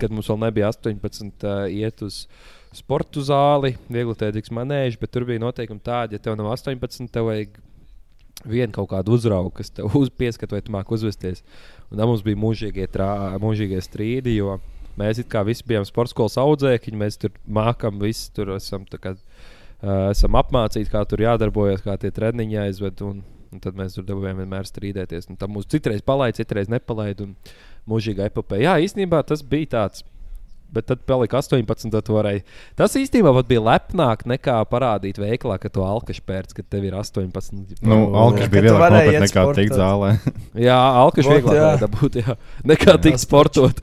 kad mums vēl nebija 18, uh, iet uz sporta zāli, viegli tētiks manēži, bet tur bija noteikumi tādi, ja tev nav 18, tev vajag vienu kaut kādu uzraugu, kas tev uzpieskat, vai tu māk uzvesties. Un tam mums bija mūžīgie, trā, mūžīgie strīdi, jo mēs it kā visi bijām sporta skolas audzēkņi, mēs tur mākam, visi tur esam, tā kā, uh, esam apmācīti, kā tur jādarbojas, kā tie treniņi jāizved. Un, un tad mēs tur dabūjām vienmēr strīdēties. Un tad mūs citreiz palaid, citreiz nepalaid. Un mūžīgā epopēja. Jā, īstenībā tas bija tāds. Bet tad palika 18. tad Varēja. Tas īstenībā pat bija lepnāk nekā parādīt veiklā, ka tu alkašs pērts, ka tev ir 18.
Nu,
Jā. Oh. Kad
Alkaņš bija
tu
vieglāk
varēji
nopirkt
iet
nekā
sportot.
tikt zālē. <laughs>
Jā, alkašs
Vot,
vieglāk
jā.
varēja dabūt, jā, nekā tik sportot.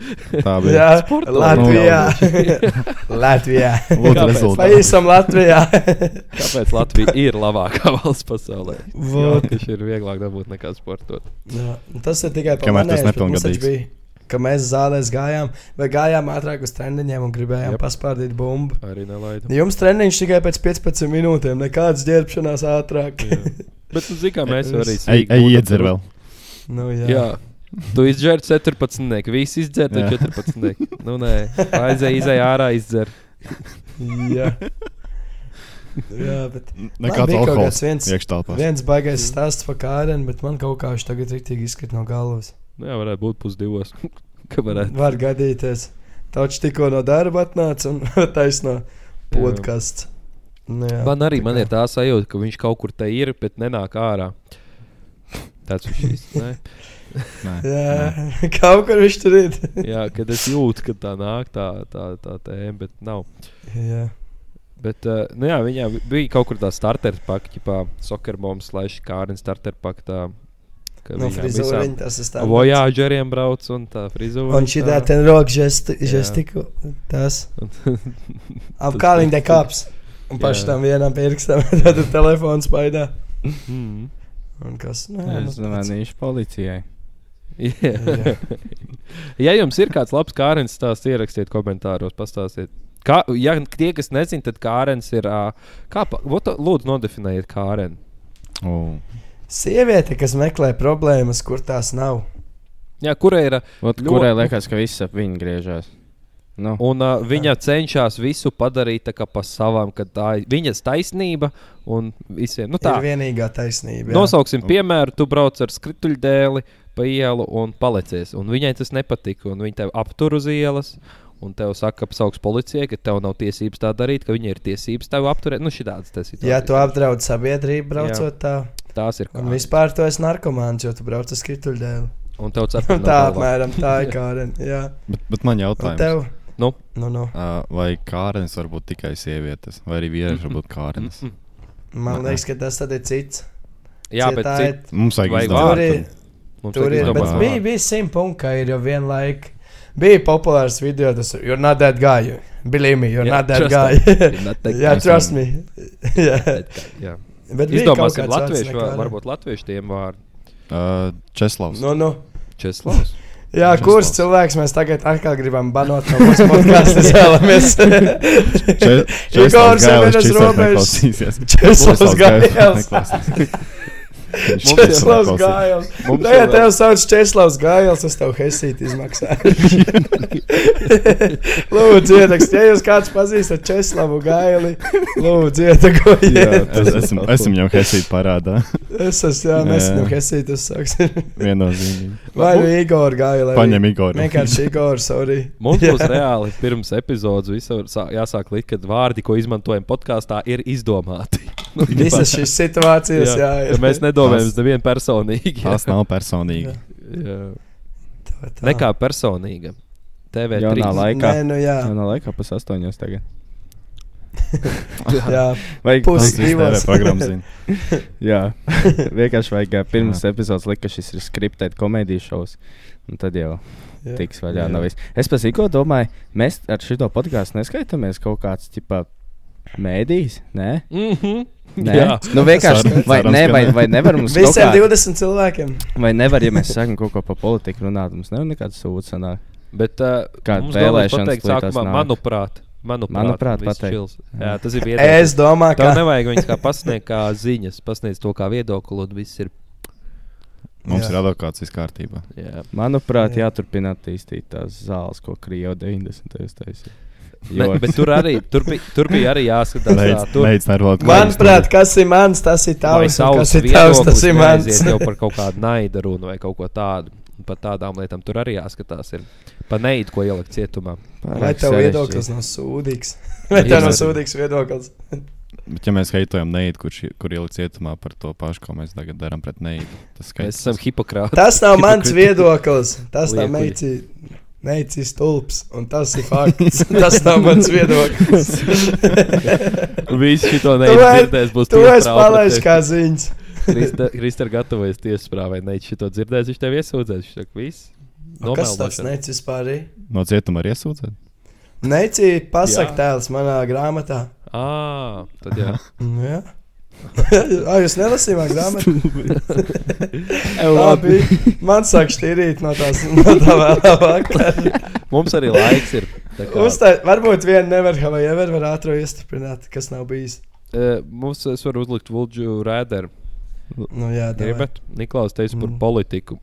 Tā bija.
Jā,
Sporta
Latvijā.
<laughs>
Latvijā. <laughs>
Lūdzu,
Kāpēc?
Vai
rezultāts.
esam Latvijā?
<laughs>
Kāpēc Latvija ir labākā <laughs> valsts pasaulē?
Vot.
Alkašs ir vieglāk dabūt nekā sportot.
Jā, un tas ir tikai
Kamēr tas
pamanējuši, bet mums taču
nepilngadīgs.
bija- ka mēs zālēs gājām, vai gājām ātrāk uz treniņiem un gribējām
Jep.
yep. paspārdīt bumbu.
Arī nelaidu.
Jums treniņš tikai pēc 15 minūtēm, nekādas ģērbšanās ātrāk.
Bet, nu, zini, kā mēs jau arī
Ej,
sīk
ej
būtu-
iedzer vēl.
nu, jā.
Jā. Tu izdzēri 14. Visi izdzēri
Jā.
14. Nu, nē, aizēj, izēj ārā, izdzēri. <laughs>
jā. jā, bet
Nekāds
bija kaut
alkohols.
kāds viens-
Iekšā telpā.
viens baigais
Mm.
stāsts par kārenu, bet man kaut kā viņš tagad rīktīgi izkrīt no galvas.
Nu, jā, varētu būt <laughs> pusdivos. Kā varētu.
Var gadīties. Taču tikko no darba atnāca un <laughs> taisno podkāsts. Nu, jā.
Man arī
tā
man
kā-
ir tā sajūta, ka viņš kaut kur te ir, bet nenāk ārā. Tāds viņš ir.
Jā, <laughs> kaut kur viņš tur ir.
Jā, kad es jūtu, ka tā nāk tā, tā, tā tēma, bet nav.
jā.
Bet, uh, nu jā, viņā bi- bija kaut kur tā starter pakāpe, tipā soccer bombs, lai šī kārna starter pakāpe.
No frizūriņa tas ir stāsts.
Voyāģeriem brauc un tā frizūra.
Un šī tā ten roka žestiku. Tas. Ap kā viņa te kāps. Un
Jā.
paši tam vienam pirkstam. <laughs> Tad ir telefons baidā.
Mm.
Un kas? Nē, nu,
Es zvanīšu policijai.
Yeah. <laughs> ja jums ir kāds labs kārens stāsts, ierakstiet komentāros, pastāstiet. Kā, ja tie, kas nezina, tad kārens ir. ā, Kā, pa- vot, lūdzu, nodefinējiet kārenu.
O,
Sieviete, kas meklē problēmas, kur tās nav.
Jā, kurai ir. ā,
Ot,
Ļoti-
Kurai liekas, ka viss ap viņu griežas? Nu,
Un uh, viņa cenšas visu padarīt tā kā pa savām, ka tā ir viņas taisnība un visiem. Nu,
Tā ir
tā.
vienīgā taisnība. jā.
Nosauksim piemēru, tu brauc ar skrituļdēli pa ielu un palicies. Un viņai tas nepatika, un viņa tev aptur uz ielas. Un tev saka, apsaugs policijai, ka tev nav tiesības tā darīt, ka viņai ir tiesības tevi apturēt. Nu, šitādas tas ir.
Ja tu apdraud sabiedrību, braucot tā,
Tās ir
un
kārtas.
vispār tu esi narkomāns, jo tu brauc uz skrituļdēlu. <laughs>
Un tev
Un
cepina
tā
galvā.
apmēram tā ir Kāren. Jā,
Bet, bet man
un
jautājums.
tev.
Nu?
nu, nu.
Uh, vai kārens var būt tikai sievietes, vai arī vīrieši var būt
Mm,
kārens?
Man liekas, ka tas tad ir cits.
Jā, bet
tā ir.
cit,
Mums vajag
Vai
izdomāt.
Tur ir,
un-
mums
tur
vajag
ir. Bet
izdomāt.
bija, bija simt punkti, ka ir jau vienlaik. Bija populārs video, tas ir You're not that guy. Believe me, you're
Jā,
yeah, not that
trust
guy.
You're
<laughs>
not that
Jā,
guy.
trust
<laughs>
me. Jā.
Jā.
Bet bija kaut
Izdomāsim,
kāds vārds
latviešu,
nekāda.
vā- varbūt latviešu tiem vārdu.
Uh, Česlavs.
Nu, nu.
Česlavs.
Jā,
Česlavs.
kurš cilvēks mēs tagad atkal gribam banot no mūsu
<laughs>
podkāstu zālēmies?
Če- Česlavs
Igors
Gailis
Semenes
šis vairs
Robežs.
neklausīsies.
Česlavs
Borislavs Gailis
Gailis.
neklausīsies. Viņš šis vairs
Česlavs
neklausīsies.
Gājals.
Mums
Nē, ja
jau-
tev sauc Česlavs Gājals, es tev hesīti izmaksāju. lūdzu, ietekst, ja jūs kāds pazīstat Česlavu Gaili, lūdzu,
Jā,
ietekojiet.
es esmu, esmu jau Helsīdu parādā. <laughs>
Es esmu, jā, mēs
Jā.
esam hesīti uzsāksim.
Viennozīmīgi.
Vai nu Igor Gaila.
Paņem Igoru.
Vienkārši Igor, sorry.
Mums
Jā.
būs reāli pirms epizodes visur sā- jāsāk likt, ka vārdi, ko izmantojam podkāstā, ir izdomāti. <laughs> Nu,
Visas šīs situācijas, jā,
jā,
ir.
ja mēs nedomājam
Tas-
uz nevienu personīgi.
Tās nav personīgi.
jā.
Tā, tā.
Nekā personīga. TV
Jaunā
trīs.
lai- laikā.
Nē, nu jā.
tā nav laikā pēc astoņos tagad.
jā.
Vajag nu,
Pus-
Tas viss
Divas.
TV programmas zina.
Jā, <laughs> vienkārši vajag ā, pirms epizodes likt, ka šis ir skriptēts komēdijas šovs. Un tad jau
jā.
tiks vaļā
Jā.
no viss. Es pats īko domāju, mēs ar šo podkāstu neskaitāmies kaut kāds tipā. Mēdīs? Nē,
Mhm.
nē.
Jā.
nu vienkārši.
Cerams,
Vai,
cerams,
nē,
ka
vai,
nē.
vai nevar mums kaut
Visiem
kā-
20 cilvēkiem.
Vai nevar, ja mēs sākam kaut ko par politiku runāt, mums nav nekādas sūdzības. sanāk.
Bet, uh,
Kāda
mums galvenais
vēlēšanas
pateikt
lietās
sākumā,
nāk.
Manuprāt, manuprāt,
Manuprāt,
un viss
pateikt.
čils. Jā, tas ir viedoklis.
Es domāju,
Tev
ka
nevajag viņus kā pasniegt, kā ziņas, pasniegt to kā viedokli, un viss ir.
Mums
Jā.
ir advokāts kārtībā.
Jā.
Manuprāt,
Jā.
jāturpina attīstīt tās zāles, ko Krievija 90. taisīja.
Ne, bet tur arī tur bija, tur bija arī jāskatās. tā, tur-
Mēģinājums nervot.
Manuprāt, kas ir mans, tas ir
Vai
tavs. un Kas
savs
ir tavs, tas ir
viedoklis
mans.
neaiziet jau par kaut kādu naidu runu vai kaut ko tādu. Un Par tādām lietām tur arī jāskatās. Ir. Pa neidu, ko ielikt cietumā.
<laughs> Vai tev viedoklis nav sūdīgs? <laughs> Vai
Jā,
tev nav
jā.
sūdīgs viedoklis?
Bet, ja mēs heitojam neiet, kurš i- kur ielikt cietumā par to pašu, ko mēs tagad darām pret neiet,
Mēs
tas skaidrs.
esam hipokrāti.
Tas nav mans
Hipokriti. <laughs>
viedoklis. Tas nav
Liekuļi.
meici. Neicis tulps, un tas ir fakts. <laughs> Tas nav mans viedoklis. <laughs>
Visi to
vari-
nedzirdēs. Būs
Tu esi
tiesas prāva pret <laughs>
palaists
tevi.
kā ziņas.
Krista- Krista ir gatavojies tiesas prāvai. Neic šito dzirdēs, viņš tev iesūdzēs. Viņš saka, viss.
Un Kas tas
Nomeldošana.
neicis vispār? ir?
No cietuma arī iesūdzēt?
Neici pasaka
Jā.
tēls manā grāmatā. <laughs>
Ā, tad jā.
Nu, jā. Ai, jūs nelasījāt man grāmatu? Tā bija. Man sāk šķirīt no tās no tā vēlā vakarā.
Mums arī laiks ir. tā
<laughs>
kā-
Uzstāj, varbūt vienu nevar, vai nevar var ātri iestiprināt, kas nav bijis.
Eh, Mums es varu uzlikt Vulģu rēderu.
Nu, jā, davai.
Gribat? Niklaus teica par
Mm.
politiku.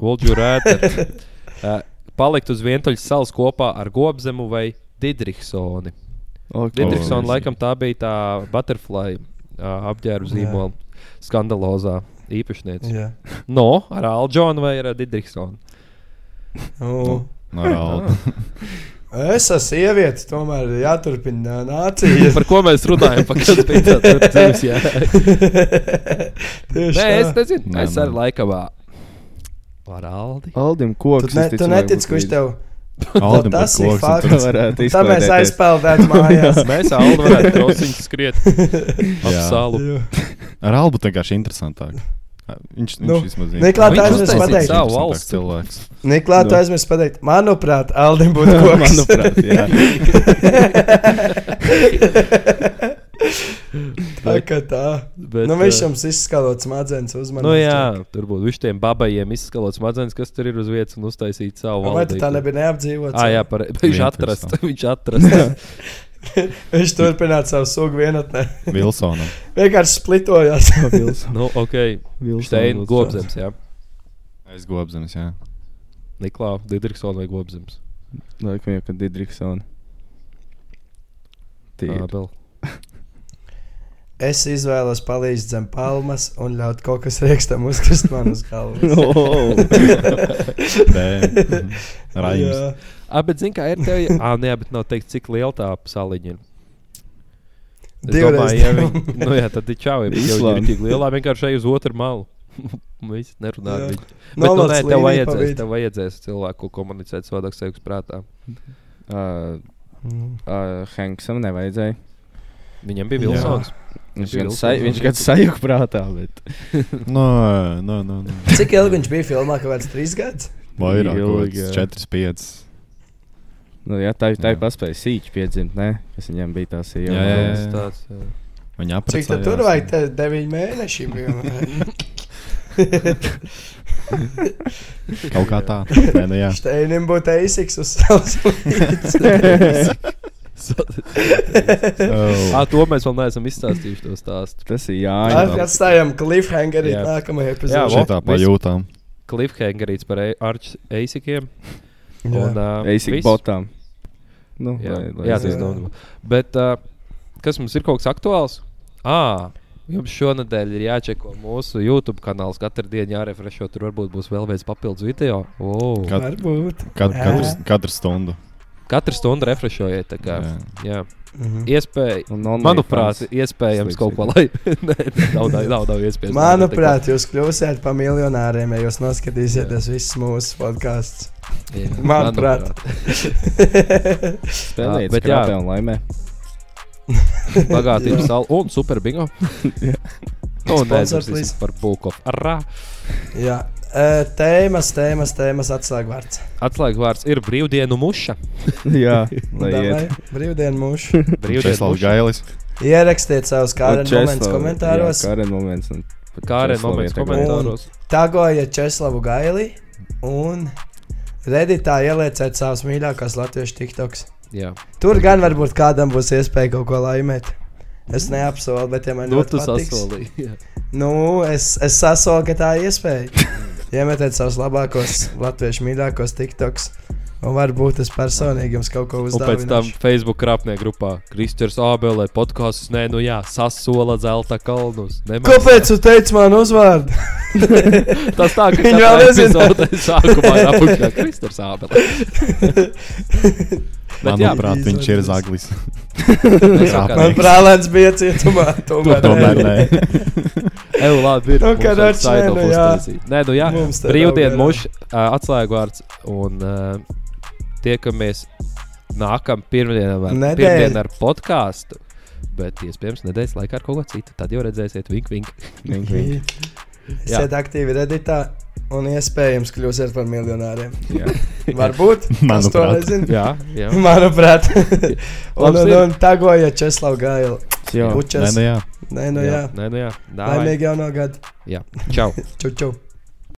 Vulģu
<laughs>
rēderu. Eh, Palikt uz vientuļas salas kopā ar Gobzemu vai Didriksoni.
Oh,
Didriksona laikam tā bija tā butterfly uh, apģērba
Jā.
zīmola skandalozā īpašniece.
Jā.
No, ar Aldžonu vai ar
<laughs>
Didriksonu?
Nu,
Morāli.
es esmu sieviete, tomēr jāturpina nācija.
Par ko mēs runājam? Par kas bija tāds dzīves? Jā,
<laughs> Tieši
<laughs> Nē, es
tā.
nezinu.
Nē,
Es arī
nē.
laikam ā, ar
<laughs>
Aldi.
Aldim
Tu,
koks.
ne,
izticamāk
tu netici, kurš
būs
tev
Aldim
tas
tas
ir
koks.
fakts.
un tur-
Varētu
<laughs> tā mēs
izklaidēties. <laughs>
aizpeldējām
<laughs>
mājās.
Mēs Aldi varētu trosiņus skriet ap
Jā.
salu.
Jā.
Ar Albu vienkārši interesantāk. Viņš, viņš
Nu,
vismaz zina.
Niklā,
Viņš
tu aizmirsti
uztaisīja
pateikt.
savu
Interesantāks
valsti.
cilvēks.
Niklā, tu
Nu.
aizmirsti pateikt, manuprāt, Aldim būtu
<laughs>
koks.
Manuprāt, jā.
<laughs> tā kā tā.
Bet,
nu,
eh,
viņš jums izskalots smadzenes uzmanības.
Nu, jā, tur būtu viņš tiem babajiem izskalots smadzenes, kas tur ir uz vietas un uztaisīt savu
Vai tu
valdību.
tā nebija neapdzīvota?
Ah, jā, par, viņš
Vienkārši
atrast,
tā.
<laughs> viņš atrast.
Viņš turpināja savu sugu vienotnē.
Vilsonam.
<laughs> Vienkārši splitojās. <laughs>
nu, ok, Šteina Gobzems, jā.
Aiz gobzemes, jā.
Niklā, Didriksona vai Gobzems.
Laikam jau, kad Didriksona. Tīri.
Tā, vēl.
es izvēlos palīdzēt zem palmas un ļaut kaut kas rīkstam uzkrist man uz
<laughs>
galvas.
Oh.
<laughs>
<laughs>
Bē. Raims.
Jā.
Ah, bet zini, kā ir tev? ah, nē, bet nav teikt, cik liela tā saliņa ir. Es
Divreiz
domāju, ja
divi. <laughs>
viņi, nu jā, tad ir čau, ja viņi ir
Islanda.
tik lielā, vienkārši ej uz otru malu. <laughs> Mēs nerunājam.
Jā.
Bet, nu,
Novelc
nē,
līniju
tev
pa
vajadzēs,
vidu.
tev vajadzēs cilvēku komunicēt savādāk sev prātā.
Uh,
Mm.
uh, Hanksam nevajadzēja.
Viņam bija
Jā.
Vilsons.
Viņš
Bija
gan,
Wilsons,
saj,
jā.
viņš gan sajūta prātā, bet
Nē, nē, nē. nē.
Cik ilgi viņš bija filmā? Kaut kāds trīs gadus?
Vairāk, kaut
Ilgi,
kāds
jā.
4, 5.
nu, jā, tā, tā
Jā.
ir paspēja sīķi piedzimt, ne? kas viņam bija tās
Jā, jā, jā.
ielas.
Tas tāds. jā.
Viņa apgleznota.
Cik tad tur vajag? Te Deviņi mēneši. piemēram.
<laughs>
<laughs>
Kaut kā tā. Nē, nu,
<laughs>
jā.
Šteinim būtu eisiks uz savas līdzekļus.
Oh.
Ah, to mēs vēl neesam izstāstījuši to stāstu.
Tas ir Jānis.
Ai.
Atstājam cliffhangeri
Jā.
nākamajai
Jā,
epizodē.
vo-
Šitā
vis-
pajūtām.
Cliffhangerīts par Arčēsikiem.
Eisik botām. Nu,
Jā,
lai- lai
jā
zinātu.
tas ir daudz. Bet uh, kas mums ir kaut kas aktuāls? À, jums šonadēļ ir jāčeko mūsu YouTube kanāls. Katru dienu jārefrešo, tur varbūt būs vēl viens papildus video. Oh.
Kat-
Varbūt.
Kad,
Jā.
katru, katru stundu.
Katru stundu refrešojiet. tā kā, Jā.
Mhm.
Iespēja,
Un only
manuprāt,
fans.
iespējams
Slikts
kaut ko lai. <laughs> Nē, nav, nav, nav, nav iespējams.
Manuprāt, jūs kļūsiet par miljonāriem, ja jūs noskatīsieties visus mūsu podkāstus. <laughs>
Jā,
manuprāt.
Spēlējiet,
Ah, bet
bet jā, un laimē. <laughs>
<laughs> Bagātības sala un super bingo. Un
Sponsors,
neaizmirsīsim
please.
par Bulkov. Arā!
Jā, Eh, tēmas, tēmas, tēmas atslēgvārds.
Atslēgvārds ir brīvdienu muša.
jā, lai
Davai,
iet.
Brīvdienu mūžu.
Brīvdienu
Česlavs
muša.
Gailis.
Ierakstiet savus
Un
kārtas momentus
Česlav-
komentāros.
Jā, Karen moments. Un...
Kārēn
Česlavu
moments
ietekmē.
komentāros.
Tagojiet Česlavu Gaili un Redditā ielieciet savus mīļākos latviešu tiktoks.
Jā.
Tur gan varbūt kādam būs iespēja kaut ko laimēt. Es neapsolu, bet ja man
Nu,
ļoti
tu
patiks-
sasolīji.
<laughs>
jā.
Nu, es, es sasolu, ka tā ir
<laughs>
iespēja. Iemetiet savus labākos, latviešu mīļākos tiktoks. Un varbūt es personīgi jums kaut ko
Un pēc tam
uzdevu.
Facebook krāpniekā grupā Kristers Abelē podkāsts. Nē, nu jā, sasola zelta kalnus. Nemaksā.
Kāpēc tu teici man
<laughs>
uzvārdu?
Tas tā,
<laughs>
ka
Viņi
katrā
vēl nezina.
epizodē sākumā ir apakšā Kristers Abelē. Bet jā,
Manuprāt, viņš ir
<laughs>
zaglis.
mēs jau
Man
Man
kādreiz-
brālēns bija cietumā. Tomēr,
Tomēr nē.
Eju, labi, ir.
<laughs> Nu,
Mums
kad
vajag
atšķi,
saido
nē, nu jā.
uztaisīt. Nē, nu jā,
Mums te
brīvdienu
nav
muš, atslēgvārds un ā, tiekamies nākamā pirmdienā ar,
Nedēļ.
pirmdien ar podkāstu. Bet iespējams, nedēļas laikā ar kaut ko citu. Tad jau redzēsiet, vink, vink.
Vink, vink.
Esiet
Jā.
aktīvi redītā un iespējams kļūsiet par miljonāriem.
Jā.
<laughs> Varbūt.
<laughs>
es to
Manuprāt.
nezinu.
Jā, jā.
<laughs>
<laughs>
Manuprāt. un,
Labs
un,
ir.
un tagojiet Česlavu Gailu.
Pats jau.
Bučers.
Nē, nu jā.
Nē, nu jā.
Nē, nu jā. Dāvai.
Laimīgi jaunā gada.
Jā. Čau.
Čau, čau.